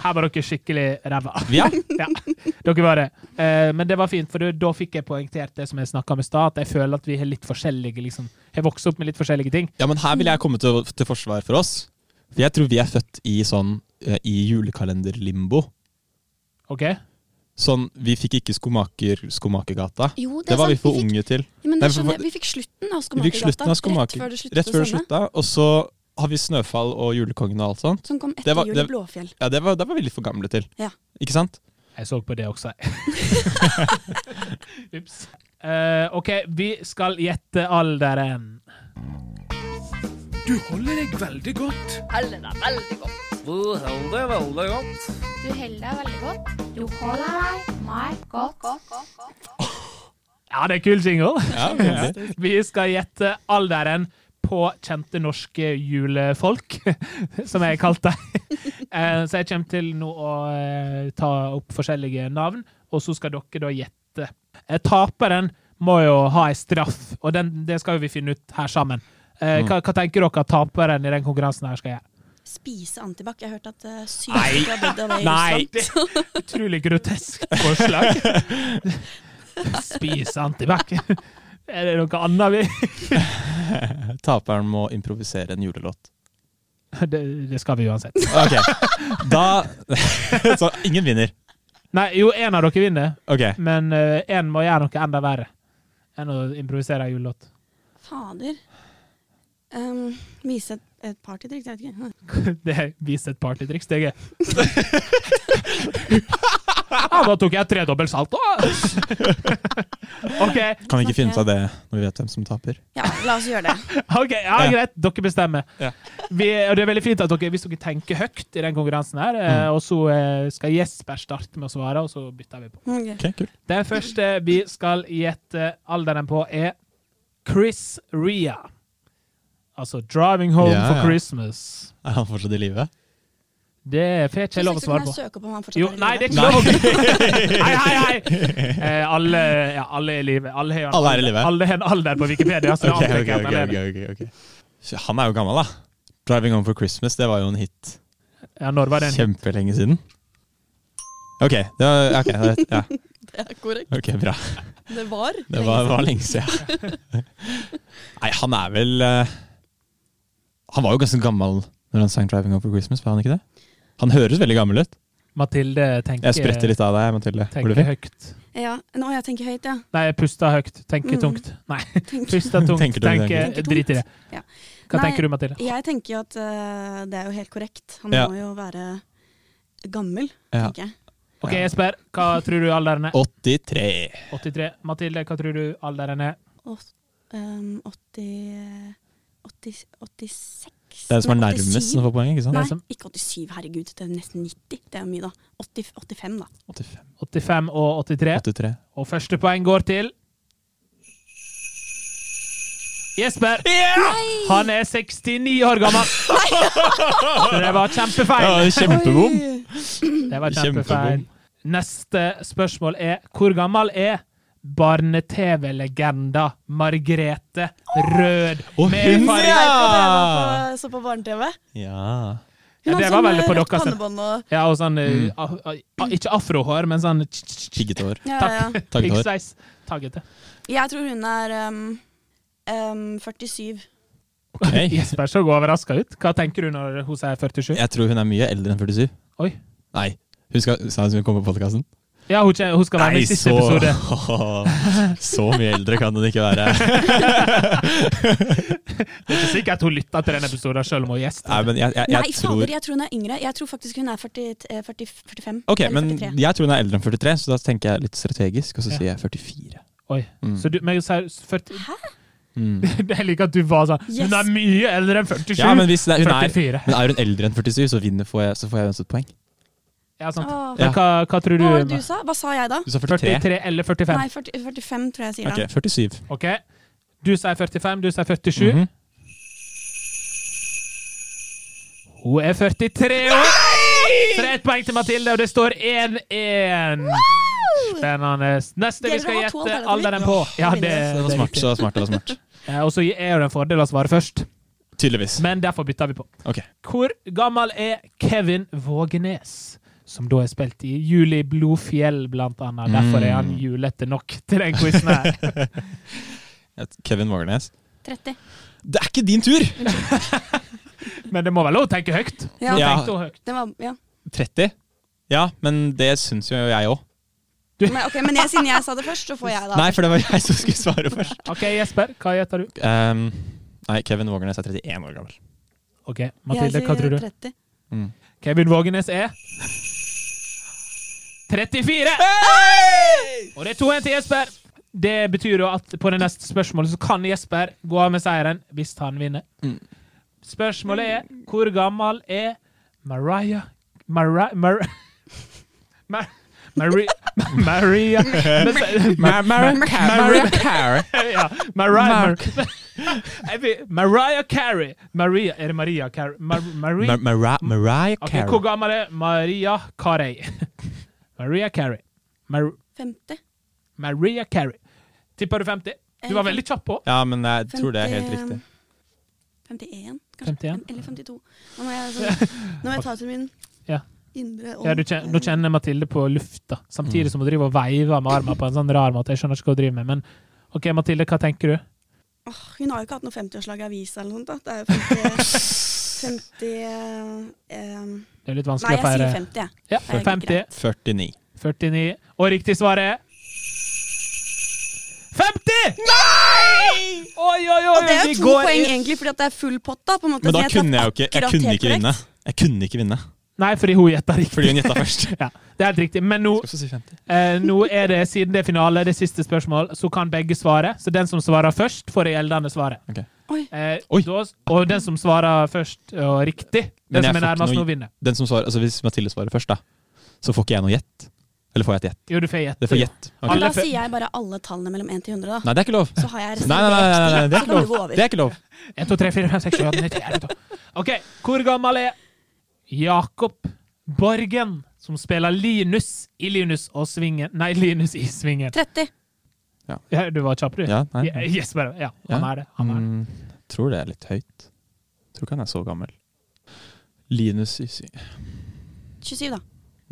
Her var dere skikkelig ræva.
Ja.
Ja, dere var det. Eh, men det var fint, for det- da fikk jeg poengtert det som jeg snakka med Stad, at jeg føler at vi har litt forskjellige liksom. Jeg vokste opp med litt forskjellige ting.
ja, men her vil jeg komme til, til forsvar for oss. For jeg tror vi er født i sånn eh, i julekalenderlimbo.
OK?
Sånn, vi fikk ikke skomaker, Skomakergata.
Jo, det,
Det
er
var vi
sant.
for
fikk-
unge til.
Ja, men det
Nei, for-
skjønner jeg. Vi fikk slutten av
Vi fikk
Skomakergata
slutten av
rett
Skomaker.
før det slutta.
Rett før det
å sende.
slutta. Og så har vi Snøfall og Julekongen og alt sånt.
Som kom etter
Det var-
Jul i
det-
Blåfjell.
Ja, det var, det var vi litt for gamle til.
Sånn. Ja.
Ikke sant?
Jeg så på det også. Ups. Eh, OK, vi skal gjette alderen.
Du holder deg veldig godt.
Alle da, veldig godt.
Du holder deg veldig godt.
Du holder deg veldig godt. Du holder deg meg godt.
Ja, det er kul jingle.
Ja, veldig.
Vi skal gjette alderen på kjente norske julefolk, som jeg kalte dem. Eh, Så jeg kommer til nå å eh, ta opp forskjellige navn, og så skal dere da gjette. Eh, Taperen må jo ha ei straff, og den, det skal jo vi finne ut her sammen. Eh, Hva, hva tenker dere at taperen i den konkurransen her skal gjøre?
Spise antibac. Jeg har hørt at uh, syke har dødd av det i
Nei!
Russland.
Utrolig grotesk forslag. Spis antibac. Er det noe annet vi
Taperen må improvisere en julelåt.
det, det skal vi uansett.
Ok, da Så ingen vinner.
Nei, jo, én av dere vinner,
Ok,
men én må gjøre noe enda verre enn å improvisere en julelåt.
Fader. Um, vise et, et partytriks, jeg vet ikke.
Det er vis et partytriks, det er gøy. Ja, da tok jeg tredobbel salt òg! OK,
Kan vi ikke finne ut av det når vi vet hvem som taper?
Ja, la oss gjøre det.
ok, ja,
Ja.
greit. Dere bestemmer.
Ja.
Vi, og det er veldig fint at dere, hvis dere tenker høyt i den konkurransen her, eh,
Mm.
og så eh, skal Jesper starte med å svare, og så bytter vi på.
Ok.
Ok, kult.
Den første vi skal gjette alderen på, er Chris Ria. Altså 'Driving Home
Ja, ja.
for Christmas'.
Er han fortsatt i live?
Det får jeg ikke lov å
Så kan
svare
jeg
på.
søke opp om han fortsatt
Jo,
er i
nei, det er ikke
live.
lov! Hei, hei, hei! Eh, alle, ja, alle er i live. Alle har en
Alle er i
alder-
livet.
Alle har en alder på Wikipedia. Så det
Ok,
antar
ok,
jeg at
ok,
han er det.
ok, ok, ok. Så Han er jo gammel, da. 'Driving Home for Christmas' det var jo en hit
Ja, når var det en
kjempelenge siden. Ok, det var, ok, det, ja.
Det er korrekt.
ok, bra.
Det var.
Det var, var lenge siden. Nei, han er vel eh, Han var jo ganske gammel når han sang 'Driving Home for Christmas', var han ikke det? Han høres veldig gammel ut.
Mathilde tenker,
Jeg spretter litt av deg, Mathilde.
tenker
Oliver.
høyt.
Ja, nå jeg tenker høyt, ja.
Nei, puster høyt. Tenker
Mm.
tungt. Nei,
Tenker.
puster tungt.
Tenker
Tenker,
tungt, tenker
tungt.
Drit i det.
Ja.
Hva
Nei,
tenker du, Mathilde?
Jeg tenker jo at eh, det er jo helt korrekt. Han
Ja.
må jo være gammel,
Ja.
tenker jeg.
Ok, Jesper, hva tror du alderen er?
83.
83. Mathilde, hva tror du alderen er?
Og, um, 80, 80, 86
Det er den som er
Nei,
nærmest
87.
som får poeng, ikke sant?
Nei,
som-
ikke 87, herregud. Det er nesten 90. Det er jo mye, da. 80, 85, da.
85.
85 og 83.
83.
Og første poeng går til Jesper! Han er 69 år gammel! Så det var
Ja,
kjempefeil.
kjempebom!
Det var
Kjempebom.
kjempefeil. Neste spørsmål er hvor gammel er barne-TV-legenda Margrete Rød?
Og
Med
hun,
farge.
Jeg
ja!
var på- så på barne-TV.
Ja.
Ja, det
hadde
var
sånn
veldig på
rødt
deres.
pannebånd og
Ja, og sånn
Mm.
eh, a- a- Ikke afrohår, men sånn
Skigget hår.
ja, ja,
Takk.
ja.
Tagget hår.
piggsveis. Taggete.
Jeg tror hun er um, um, 47.
Ok.
Jesper så overraska ut. Hva tenker du når hun sier 47?
Jeg tror hun er mye eldre enn 47.
Oi.
Nei. Hun skal, sa hun skulle komme på podkasten?
Ja, hun, kje- hun skal være med i siste episode.
så mye eldre kan hun ikke være.
Det er ikke sikkert hun lytter til den episoden selv om hun er gjest.
Nei, men jeg, jeg, jeg
Nei,
tror
fader, jeg tror hun er yngre. Jeg tror faktisk hun er 40, eh, 40, 45.
Ok,
eller
men
43.
jeg tror hun er eldre enn 43, så da tenker jeg litt strategisk, og så
Ja.
sier jeg 44.
Oi.
Mm.
Så du, men jeg sier 40
Mm.
Jeg liker at du var sånn
Yes.
Hun er mye eldre enn 47!
Ja, men hvis det, er- hun er,
44.
men er hun eldre enn 47, så, vinner, får jeg, så får jeg uansett poeng.
Ja, sant.
Åh,
Men Hva, hva tror du?
Hva var det du sa? Hva sa jeg da?
Du sa 43.
43 eller 45?
Nei, 40, 45 tror jeg jeg sier
Ok,
da.
47.
Ok. Du sier 45, du sier 47.
Mhm.
Hun er 43 år! Så det er ett poeng til Mathilde, og det står 1-1. Spennende. Neste
Dere
vi skal
har to
gjette
alternativer.
alderen på. Ja, det,
Det var
det er
smart.
riktig.
Så det var smart, det var smart.
Ja, Eh, Og så er det en fordel å svare først,
Tydeligvis.
men derfor bytter vi på.
Ok.
Hvor gammel er Kevin Vågenes? Som da er spilt i Juli Blodfjell, blant annet. Derfor er han
Mm.
julete nok til den quizen her.
Kevin Vågenes.
30.
Det er ikke din tur!
Men det må vel lov å tenke høyt?
Ja,
Ja.
Tenkte hun høyt.
Det var, ja.
30? Ja, men det syns jo jeg òg.
Men, ok, men jeg, siden jeg sa det først, så får jeg da.
Nei, for det var jeg som skulle svare først.
OK, Jesper, hva gjetter du?
Ehm, nei, Kevin Vågenes er 31 år gammel.
OK, Mathilde, hva tror du?
Jeg sier 30.
Kevin Vågenes er 34! Og det er 2-1 til Jesper. Det betyr jo at på det neste spørsmålet så kan Jesper gå av med seieren hvis han vinner. Spørsmålet er hvor gammel er Mariah Mariah Mar Mar Mari- Maria
Maren
Mariah
Carey.
ja, Mariah Jeg vet- Mariah Carey. Maria, er det Maria Carey? Mar Maria
Mariah
Ok,
Carey.
Hvor gammel er Maria Carey? Maria Carey. Mar
50.
Maria Carey. Tipper du 50? Du var veldig kjapp på.
Ja, men jeg tror det er helt riktig.
51, kanskje.
51.
Eller 52. Nå må jeg, sånn, nå må jeg ta til min
Ja.
indre ånd.
Ja, du kjen- nå kjenner Mathilde på lufta, samtidig som hun driver og veiver med armen på en sånn rar måte. Jeg skjønner ikke hva hun driver med, men OK, Mathilde, hva tenker du?
Åh, hun har jo ikke hatt noe 50-årslag i avisa eller noe sånt. da. Det er jo 50, 50 eh,
Det er litt
Nei,
vanskelig å
jeg sier
feire.
50, jeg.
Ja,
Det
50.
er
49.
49. Og riktig svar er 50! Nei! Oi, oi, oi!
Og det er
vi
jo to
går
poeng,
i-
egentlig, fordi at det er full pott, da. på en måte.
Men da
Så traff
kunne jeg jo ikke, jeg
akkurat
kunne
helt
ikke
korrekt.
vinne. Jeg kunne ikke vinne.
Nei, fordi hun gjetta riktig.
Fordi hun gjetta først.
Ja, det er helt riktig. Men nå
Skal også si 50.
Eh, nå er det, Siden det er finale, det er siste spørsmål, så kan begge svare. Så den som svarer først, får det gjeldende svaret.
Ok.
Oi.
Eh,
Oi.
Da, og den som svarer først og riktig,
Men
den
jeg
som er
får ikke
nærmest
noe-
nå, vinner.
Den som svarer, altså Hvis Mathilde svarer først, da, så får ikke jeg noe gjett. Eller får jeg et gjett?
Jo, du får gjette.
Det får gjett. Ok.
Men
Alle
da
er fø-
sier jeg bare alle tallene mellom 1 til 100, da.
Nei, det er ikke lov.
Så har jeg
Nei, nei,
reservert
nei, nei, nei, det er
Så
ikke
kan du gå
lov.
over.
Det er ikke lov.
1, 2, 3, 4, 5, 6, 7, 8, 9, 10, 11, 12. OK. Hvor gammel er Jakob Borgen, som spiller Linus i Linus og Svingen Nei, Linus i Svingen.
30.
Ja, du var kjapp, du.
Ja, nei.
Ja, Jesper. Ja, han
Ja.
er det. Han er det.
Mm, tror det er litt høyt. Tror ikke han er så gammel. Linus i sy-
27, da.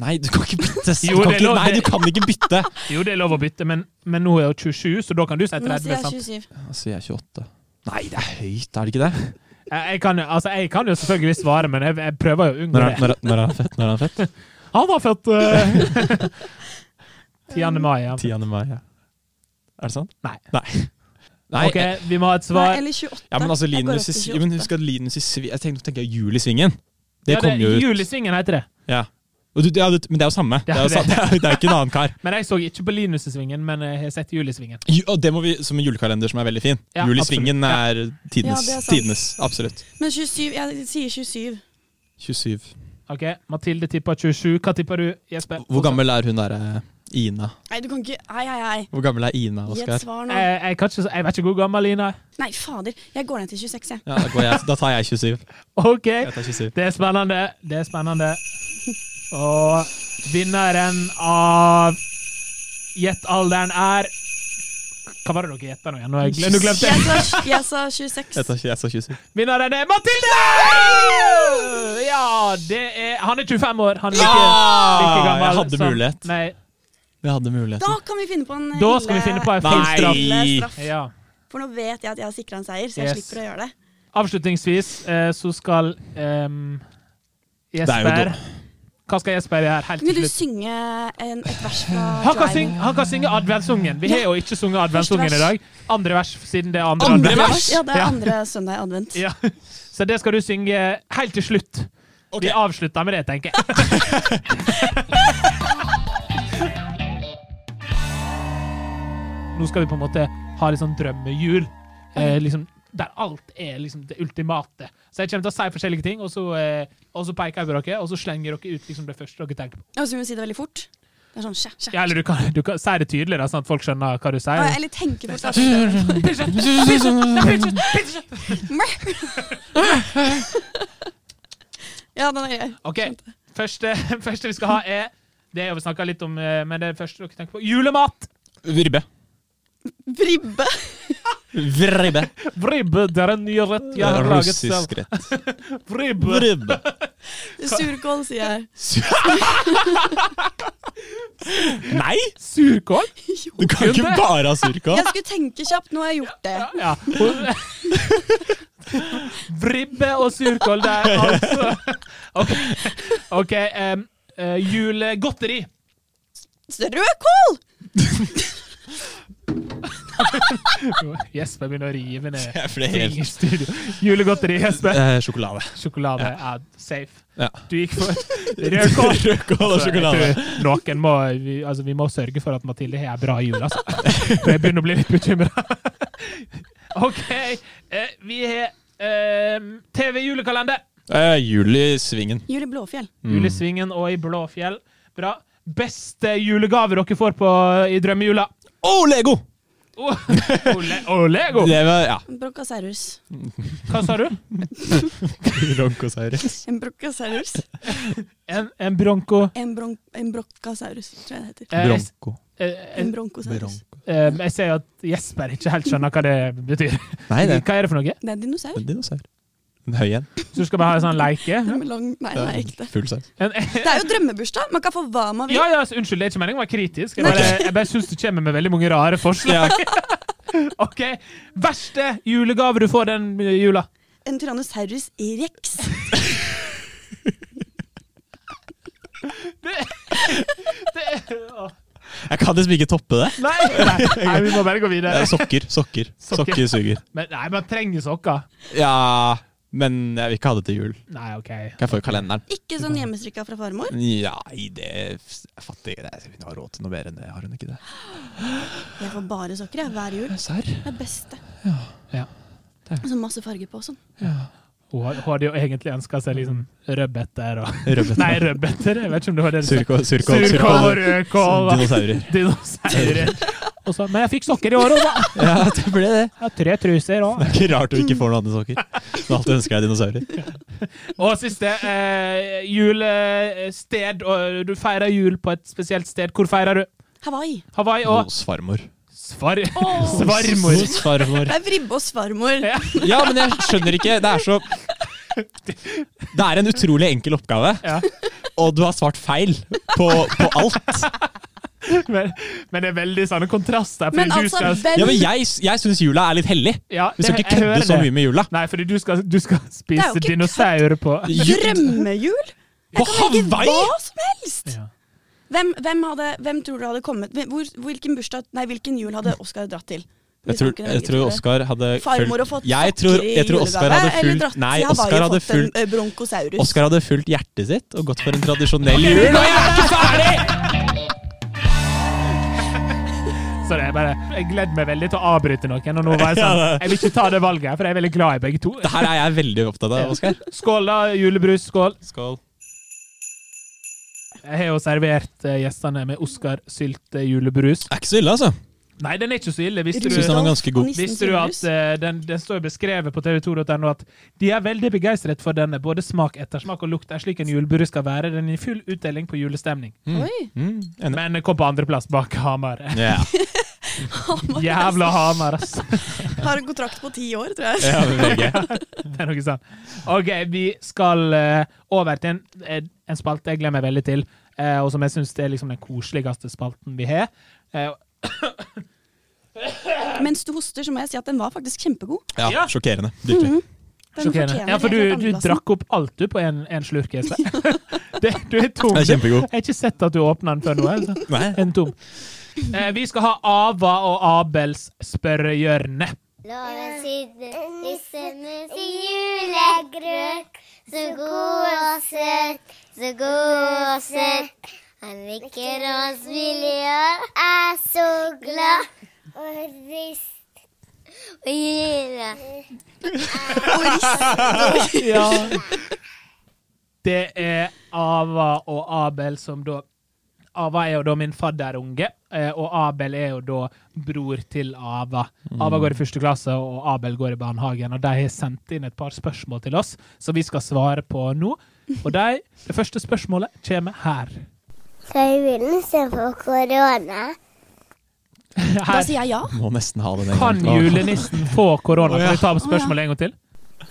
Nei, du kan ikke bytte! Du
Jo,
kan
det er
ikke,
lov,
nei,
det-
du kan ikke bytte!
Jo, det er lov å bytte, men, men nå er hun 27, så da kan du si
Nå
30.
sier
sant?
jeg 27.
Altså, jeg er 28. Nei, det er høyt, er det ikke det?
Jeg jeg kan, jo- altså, jeg kan jo selvfølgelig svare, men jeg, jeg prøver jo å unngå
Når er,
det.
når, er- når er han født? Når er han født?
Han var født eh, 10. mai. Ja.
10. mai, ja. Er det sant?
Nei.
Nei, Nei
OK, vi må ha et
Nei,
svar.
eller 28.
ja, men altså
Jeg går opp
Linus i
til
sy- ja, Men
28.
husk at Linus i Svi... Jeg tenkte, nå tenker jeg Jul i Svingen. Det
Ja,
kom jo ut.
Julesvingen heter det.
Ja. Og du, ja, du, men det er jo samme. Det er jo
det.
sa- det er, jo- det er jo ikke en annen kar.
Men jeg så ikke på Linus-svingen, men jeg har sett Julesvingen.
Ju- Og det må vi, som en julekalender som er veldig fin.
Ja,
Jul i
absolutt.
Svingen
Ja.
er
Ja,
tidenes.
det er sant.
tidenes, absolutt.
Men 27, jeg sier 27.
27.
OK, Mathilde tippa 27. Hva tipper du, Jesper?
Hvor gammel er hun derre Ina?
Nei, du kan ikke Hei, hei, hei.
Hvor gammel er Ina,
Gi et
Oskar?
svar nå.
Jeg, jeg, kan ikke, jeg vet ikke hvor gammel Ina er.
Nei, fader. Jeg går ned til 26, jeg.
Ja, da, går jeg, da tar jeg 27.
OK,
Jeg tar 27.
det er spennende. Det er spennende. Og vinneren av Gjett alderen er Hva var det dere gjetta nå igjen? Nå har jeg glemt- nå glemte jeg.
Jeg sa, jeg sa
Jeg
26.
tar, jeg tar 27.
Vinneren er Mathilde! Ja, det er Han er 25 år. Han er like, like gammel.
Jeg hadde
som-
mulighet.
Nei,
Jeg hadde
Da
muligheten.
kan vi finne på en
da skal vi finne på en
Nei.
full straff.
ille straff.
Ja.
For nå vet jeg at jeg har sikra en seier, så jeg
Yes.
slipper å gjøre det.
Avslutningsvis eh, så skal ehm,
Det er jo
Jesper Hva skal Jesper gjøre helt
Vil
til
du
slutt?
synge en, et vers fra
Han kan,
Driving?
synge, han kan synge adventsungen. Vi har jo ikke sunget adventsungen i
Første vers.
dag. Andre vers, siden det er andre,
Andre
advent.
vers?
Ja, det er
Ja.
andre søndag i advent.
Ja. Så det skal du synge helt til slutt. Vi avslutter med det, tenker jeg. Nå skal vi på en måte ha litt sånn drømmejul. Eh, liksom, der alt er liksom det ultimate. Så jeg kommer til å si forskjellige ting, og så, eh, og så peker jeg på dere, og så slenger dere ut liksom, det første dere tenker på.
Og så må vi si det veldig fort. Det er sånn skjæ, skjæ.
Ja, eller du kan, du kan si det tydelig, da, sånn at folk skjønner hva du
Å,
sier.
Eller tenke fort. da. Ja, den er grei.
Ok, første, første vi skal ha, er Det har vi snakka litt om, eh, men det er det første dere tenker på. Julemat!
Vribbe.
Bribbe.
Vribbe.
Vribbe, det er en ny rett jeg har laget selv.
Russisk rett.
Vribbe.
Vribbe.
Surkål, sier jeg.
Nei!
Surkål?
Du kan ikke bare ha surkål.
Jeg skulle tenke kjapt, nå har jeg gjort det.
Ja. Vribbe og surkål der, altså. OK. okay em, eh, julegodteri.
Rødkål!
Jesper begynner å rive ned
Jeg ble
ting i
helt
studio. Julegodteri, Jesper.
Eh, Sjokolade.
Sjokolade er safe.
Ja.
Du gikk for rødkål.
Rødkål og
Altså, jeg
sjokolade.
tror Noen må, vi, altså, vi må sørge for at Mathilde har en bra jul, altså. For jeg begynner å bli litt bekymra. OK. Eh, vi har eh, TV-julekalender.
Eh, jul i svingen.
Jul i Blåfjell.
Mm.
Julesvingen og i Blåfjell. Bra. Beste julegave dere får på, i drømmejula?
Oh, Lego!
Oh, ole, oh, Lego!
Det var ja.
Brokasaurus.
Hva sa du?
Bronkosaurus.
En brokasaurus.
En, en bronco
En, bron en brokkasaurus, tror jeg det heter.
eh, jeg, s-
Bronko.
eh,
En bronkosaurus.
eh, jeg ser jo at Jesper ikke helt skjønner hva det betyr.
Nei, det
Hva er det for noe?
Det er en dinosaur.
er en dinosaur. En høy en.
Så du skal bare ha en sånn leike?
Den med lang Nei, den er ekte.
Full saus.
En,
Det er jo drømmebursdag. Man kan få hva man vil.
ja, ja, altså, unnskyld, det er ikke meningen å være kritisk. Jeg bare, jeg bare syns du kommer med veldig mange rare forslag.
Ja.
Ok, Verste julegave du får den eh, jula?
En tyrannosaurus rex.
Åh,
Jeg kan liksom ikke toppe det.
Nei, nei, nei, vi må bare gå
Det
videre.
er sokker. Sokker
Sokker.
Sokker suger.
Men, nei, man trenger sokker.
Ja, men jeg vil ikke ha det til jul.
Nei, OK.
Kan jeg få kalenderen?
Ikke sånn hjemmestrikka fra farmor.
Ja, i det jeg er fattig. Nei, Hun har råd til noe mer enn det. Har hun ikke det?
Jeg får bare sokker jeg, hver jul.
Serr?
Det er beste.
Ja.
Og så masse farger på og sånn.
Hun har- hun hadde jo egentlig ønska seg liksom rødbeter og
Rødbeter.
Nei, rødbeter. Jeg vet ikke om det var det du sa.
Surkål,
Surkål
surkål,
og
surkål.
rødkål og
Dinosaurer.
dinosaurer. Og så, men jeg fikk sokker i år òg, da.
Ja, det ble det.
Jeg har tre truser òg.
Det er ikke rart du ikke får noe annet enn sokker. Du alltid ønsker deg dinosaurer.
Og siste eh, julested. Og du feirer jul på et spesielt sted. Hvor feirer du?
Hawaii.
Hawaii og
Hos farmor.
Svar Svarmor.
Hos farmor.
Det er vribbe og svarmor.
Ja.
Ja, men jeg skjønner ikke. Det er så Det er en utrolig enkel oppgave,
Ja.
og du har svart feil på, på alt.
Men, men det er veldig sånne kontraster. fordi
Men
du
altså,
skal-
Ja, men
hvem
jeg, jeg syns jula er litt hellig.
Ja,
Vi skal
det-
ikke
jeg hører
kødde så
det.
mye med jula.
Nei, fordi du skal, du skal spise
ikke
dinosaurer på
Drømmejul?
På
Ikke
Hawaii!
hva som helst!
Ja.
Hvem, hvem, hadde, hvem tror du hadde kommet hvem- hvor, Hvilken bursdag Nei, hvilken jul hadde Oskar dratt til?
Jeg tror, jeg tror Oskar hadde
Farmor har fått
jeg
sokker
tror,
i
jeg tror Oscar
julegave,
hadde
eller
fulgt,
dratt til
Nei,
Hawaii
Oscar
og
hadde
fått en,
fulgt,
eh, Bronkosaurus.
Oscar hadde fulgt hjertet sitt og gått for en tradisjonell
Ok,
jul.
nå er jeg ikke ferdig! Sorry, jeg bare Jeg gleder meg veldig til å avbryte noen. Og nå var jeg sånn Jeg vil ikke ta det valget, her, for jeg er veldig glad i begge to.
Det her er jeg veldig opptatt av, Oskar.
Skål, da. Julebrus. Skål.
Skål.
Jeg har jo servert eh, gjestene med Oscar sylte julebrus.
Er ikke så ille, altså.
Nei, den er ikke så ille. Visste
Synes den
du,
var ganske god.
Og nissen
visste du at
Sylhus.
eh, den, den står beskrevet på tv2.no at de er veldig begeistret for denne. Både smak, ettersmak og lukt er slik en julebrus skal være. Den er i full utdeling på julestemning.
Oi,
Mm, enig.
Men kom på andreplass bak Hamar.
Ja.
Jævla Hamar, ass.
Har en kontrakt på ti år, tror jeg.
Ja, men VG.
Det er noe sånn. OK, vi skal eh, over til en, en- en spalte jeg gleder meg veldig til, eh, og som jeg syns er liksom den koseligste spalten vi har. Eh,
Mens du hoster, så må jeg si at den var faktisk kjempegod.
ja, sjokkerende.
Den
Virkelig.
sjokkerende.
fortjener
Ja, for du,
helt klart
du
andreplassen.
drakk opp alt du på en, en slurk, Jesper. Det, du er tom.
Den er kjempegod.
Jeg har ikke sett at du åpna den før nå. Altså.
Nei.
En tom. Eh, vi skal ha Ava og Abels spørrehjørne.
Loven sydde nissemus i julegrøt. Så god og søt, så god og søt. Han nikker og smiler og er så glad. Og rist og gyra.
Ja. Det er Ava og Abel som da Ava er jo da min fadderunge, eh, og Abel er jo da bror til Ava. Ava går i første klasse, og Abel går i barnehagen. Og de har sendt inn et par spørsmål til oss, som vi skal svare på nå. Og de, det første spørsmålet kommer her.
Øyvinden ser på korona.
her.
Da sier jeg ja.
Må nesten ha den en gang
Kan
til.
julenissen få korona? Kan vi ta spørsmålet en gang til?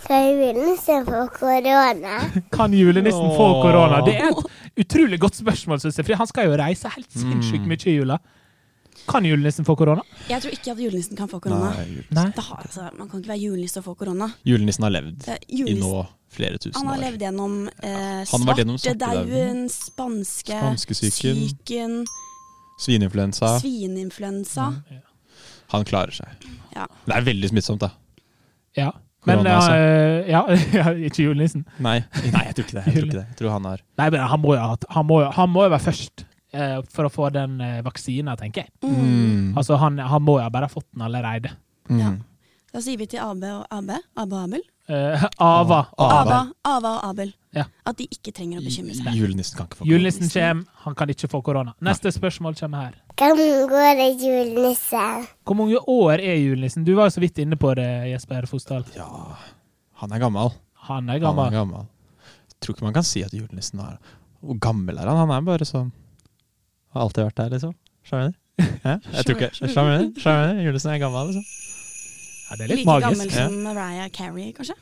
Øyvinden ser på korona.
Kan julenissen få
Åh.
korona? Det er et utrolig godt spørgsmål, synes jeg. For han skal jo reise helt
Mm.
sinnssykt mye i jula. Kan julenissen få korona?
Jeg tror ikke at julenissen kan få korona.
Nei, jul-
Nei.
Det har, altså, man kan ikke være julenisse og få korona.
julenissen har levd
Det er
i
julenisse-
nå flere tusen
Han har
år.
levd gjennom eh,
Han har vært gjennom
svartedauden, spanske,
Spanskesyken.
syken,
Svineinfluensa.
svineinfluensa.
Han klarer seg.
Ja.
Det er veldig smittsomt, da.
Ja. Men
Korona, altså.
eh, ja, ja, ikke julenissen.
Nei, Nei jeg tror ikke det. Jeg tror, ikke det. Jeg tror han har
Nei, men han må jo, ha hatt- han må jo, han må jo være først eh, for å få den eh, vaksina, tenker jeg.
mm.
Altså, han, han må jo ha bare ha fått den allerede.
Ja. Da sier vi til AB og AB, AB og Abel,
Eh, Ava.
Ah,
Ava, Ava og Abel,
Ja.
at de ikke trenger å bekymre seg.
Julenissen kan ikke få
Julenissen kommer, han kan ikke få korona. Neste spørsmål kommer her.
Kan går det julenissen?
Hvor mange år er julenissen? Du var jo så vidt inne på det, Jesper Fosdal.
Ja, han er gammel.
Han er
Han
gammel.
er gammel. Jeg tror ikke man kan si at julenissen er Hvor gammel er han? Han er bare sånn Har alltid vært der, liksom. Skjønner du? Hæ? Jeg tror ikke Skjønner du? Skjønner du? Julenissen er gammel, liksom.
Ja, det er litt
Like gammel
magisk.
som Mariah Carey, kanskje?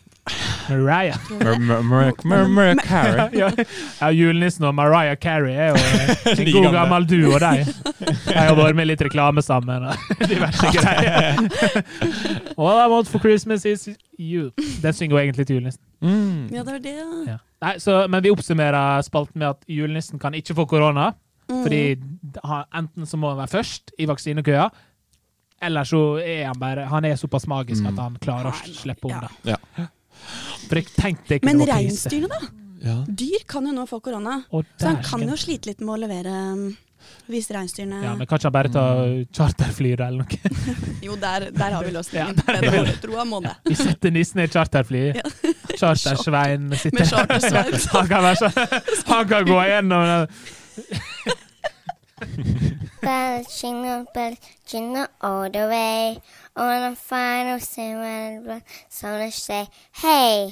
Mariah.
Murmur Carrot.
Ja, ja, julenissen og Mariah Carey er jo eh, en
Like
god
gamle.
gammel duo, de. De har vært med i litt reklame sammen og diverse greier. All I want for Christmas is you. Den synger jo egentlig til julenissen.
Mm.
Ja, det var det. ja.
Ja. Nei, så, men vi oppsummerer spalten med at julenissen kan ikke få korona.
Mm.
Fordi han, enten så må han være først i vaksinekøa, eller så er han bare Han er såpass magisk
Mm.
at han klarer å slippe unna.
Ja.
For jeg tenkte ikke
Men
det var krise.
reinsdyrene, da?
Ja.
Dyr kan jo nå få korona.
Å,
Så han
dæsken.
kan jo slite litt med å levere um, hvis reinsdyrene
Ja, men kanskje han bare tar
Mm.
charterfly da, eller noe.
Jo, der, der har vi
Ja,
løsningen.
der er
Den må du tro han må det.
Vi setter nissen i et charterfly.
Ja.
Chartersvein sitter
Med chartersveis.
Han kan, være sånn, han kan gå gjennom den.
Bell jingle, bell jingle all the way. On the final summer, summer say, hey.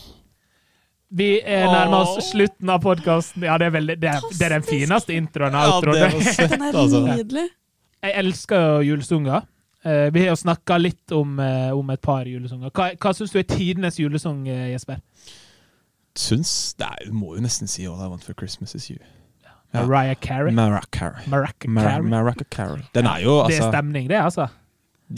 Vi er nærmer oss slutten av podkasten. Ja, det er, veldig, det, er, det er den fineste introen og
Ja, det
outroen.
var søtt,
Den er
altså.
nydelig.
Jeg elsker jo julesanger. Eh, vi har jo snakka litt om, eh, om et par julesanger. Hva, hva syns du er tidenes julesang, eh, Jesper?
Syns Det er, du må jo nesten si All I Want for Christmas Is You. Ja.
Mariah Carey?
Mariah Carey.
Mariah
Mar-
Carey.
Mariah Carey. Den er jo
Det er
altså
stemning, det, altså.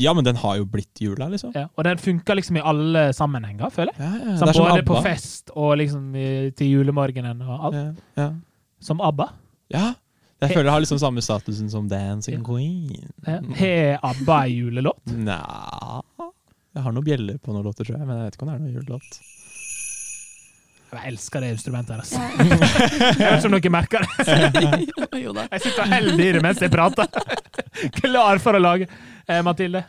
Ja, men den har jo blitt jula, liksom.
Ja. Og den funker liksom i alle sammenhenger, føler jeg.
Ja, ja.
Som
Det er som
både på
ABBA.
fest og liksom i, til julemorgenen og alt.
Ja, ja.
Som ABBA.
ja. Jeg føler det har liksom samme statusen som Dancing Queen.
Ja. Har Eh, ABBA en julelåt?
Nja Jeg har noen bjeller på noen låter, tror jeg, men jeg vet ikke om det er noen julelåt.
Jeg elsker det instrumentet her, altså. Jeg vet ikke om dere merker det.
Jo da.
Jeg sitter og holder i det mens jeg prater. Klar for å lage. Eh, Mathilde.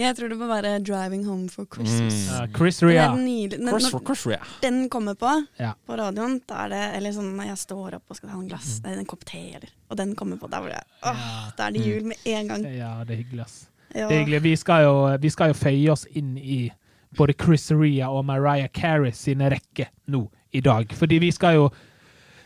Jeg tror det må være 'Driving Home for Christmas'.
Eh, Chris
Den
Ria.
er nydelig. Når, når den kommer på
Ja.
på radioen, da er det Eller sånn når jeg står opp og skal ha en glass
Mm.
Nei, en kopp te, eller Og den kommer på, da blir jeg Åh, da er det jul med en gang.
Ja, det er hyggelig, ass.
Ja.
Mm. Det er hyggelig. Vi skal jo, vi skal jo føye oss inn i både Chris Ria og Mariah Carey sine rekker nå i dag. Fordi vi skal jo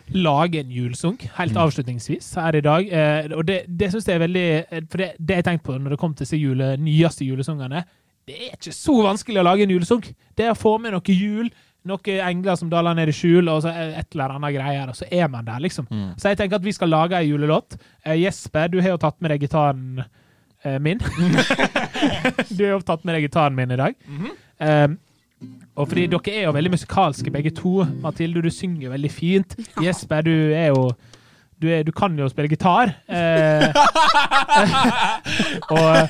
lage en julesang helt avslutningsvis her i dag. Eh, og det, det syns jeg er veldig eh, For det, det jeg tenkte på når det kom til disse jule, nyeste julesangene, det er ikke så vanskelig å lage en julesang. Det er å få med noe jul, noen engler som daler ned i skjul, og så et eller annet greier, og så er man der, liksom. Så jeg tenker at vi skal lage ei julelåt. Eh, Jesper, du har jo tatt med deg gitaren eh, min. du har jo tatt med deg gitaren min i dag. Eh, Og fordi dere er jo veldig musikalske begge to. Mathilde, du synger jo veldig fint. Jesper, du er jo Du, er, du kan jo spille gitar. Eh, og,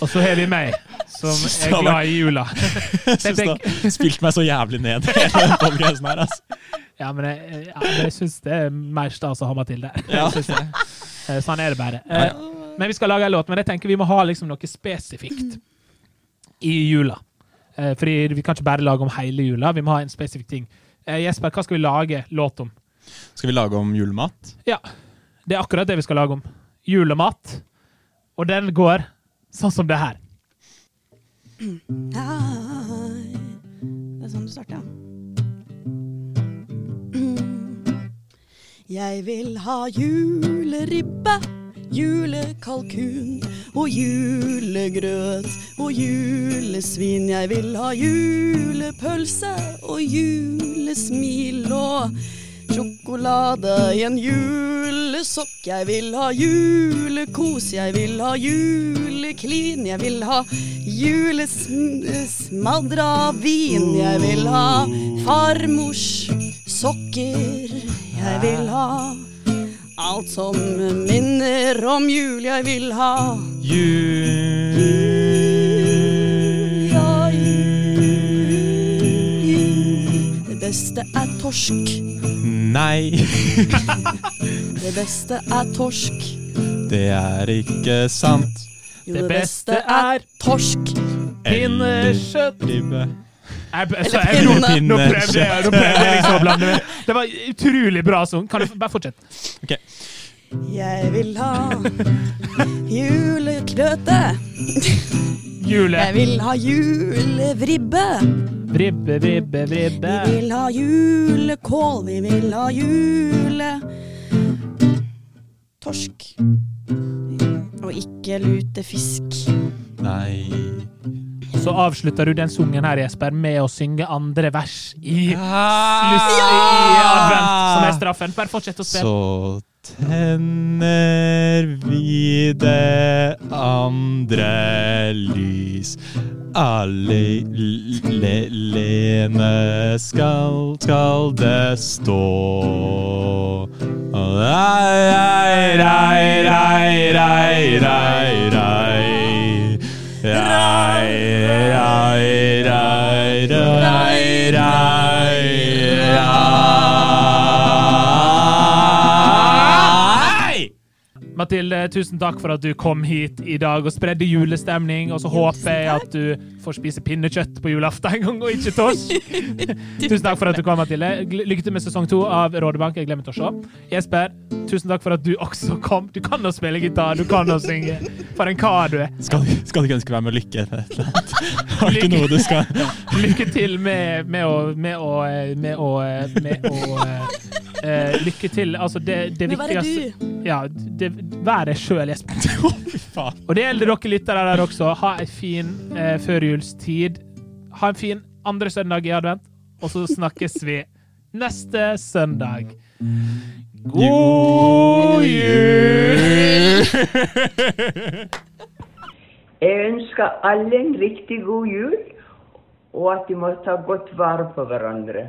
og så har vi meg, som er glad i jula.
Jeg syns du har spilt meg så jævlig ned i hele den podcasten her, altså.
Ja, men jeg, ja, men jeg syns det er mer stas å ha Mathilde. Jeg synes det. Eh, Sånn er det bare. Eh, Men vi skal lage en låt, men jeg tenker vi må ha liksom noe spesifikt i jula. Eh, Fordi vi kan ikke bare lage om hele jula, vi må ha en spesifikk ting. Eh, Jesper, hva skal vi lage låt om?
Skal vi lage om julemat?
Ja, det er akkurat det vi skal lage om. Julemat. Og den går sånn som det her.
Nei. Det er sånn du starter, ja. Mm. Jeg vil ha juleribbe, julekalkun og julegrøt og julesvin. Jeg vil ha julepølse og julesmil og sjokolade i en julesokk. Jeg vil ha julekos, jeg vil ha juleklin. Jeg vil ha julesmadra vin. Jeg vil ha farmors sokker. Jeg vil ha alt som minner om jul. Jeg vil ha jul. Ja, jul, jul. Det beste er torsk.
Nei,
Det beste er torsk.
det er ikke sant.
Jo,
Det beste er
torsk.
pinnekjøtt.
Ribbe.
Jeg, så jeg, nå,
pinne.
nå prøvde jeg nå prøvde jeg liksom å blande meg. Det var utrolig bra sånn. Kan du bare fortsette?
Ok,
Jeg vil ha julekløte.
Jule.
Jeg vil ha julevribbe.
Vribbe, vribbe, vribbe.
Vi vil ha julekål. Vi vil ha jule... Torsk. Og ikke lutefisk.
nei.
Så avslutter du den sungen her, Jesper, med å synge andre vers i Lucy i
Ah!
advent, som er straffen. Bare fortsett å spille.
Så tenner vi det andre lys. Alle le, lene skal, skal det stå. Rei, rei, rei, rei, rei, rei, rei. Rei, rei, rei, rei, rei, rei.
Mathilde, tusen takk for at du kom hit i dag og spredde julestemning. Og så håper jeg at du får spise pinnekjøtt på julaften en gang, og ikke torsk. tusen takk for at du kom, Mathilde. Gl- Lykke til med sesong to av Rådebank. Jeg glemte å se. Jesper, tusen takk for at du også kom. Du kan å spille gitar, du kan å synge. For en kar du er.
Skal, skal du ikke ønske meg med lykke eller et eller annet? Har du ikke noe du skal
Lykke til med, med å Med å eh, Med å, med å eh, eh, Lykke til. Altså, det, det
Men hva er
viktigste
du?
Ja, det, vær deg sjøl, Jesper.
Å, fy faen.
Og det gjelder dere lyttere der også. Ha ei en fin eh, førjulstid. Ha en fin andre søndag i advent, og så snakkes vi neste søndag. God jul!
Jeg ønsker alle en riktig god jul, og at de må ta godt vare på hverandre.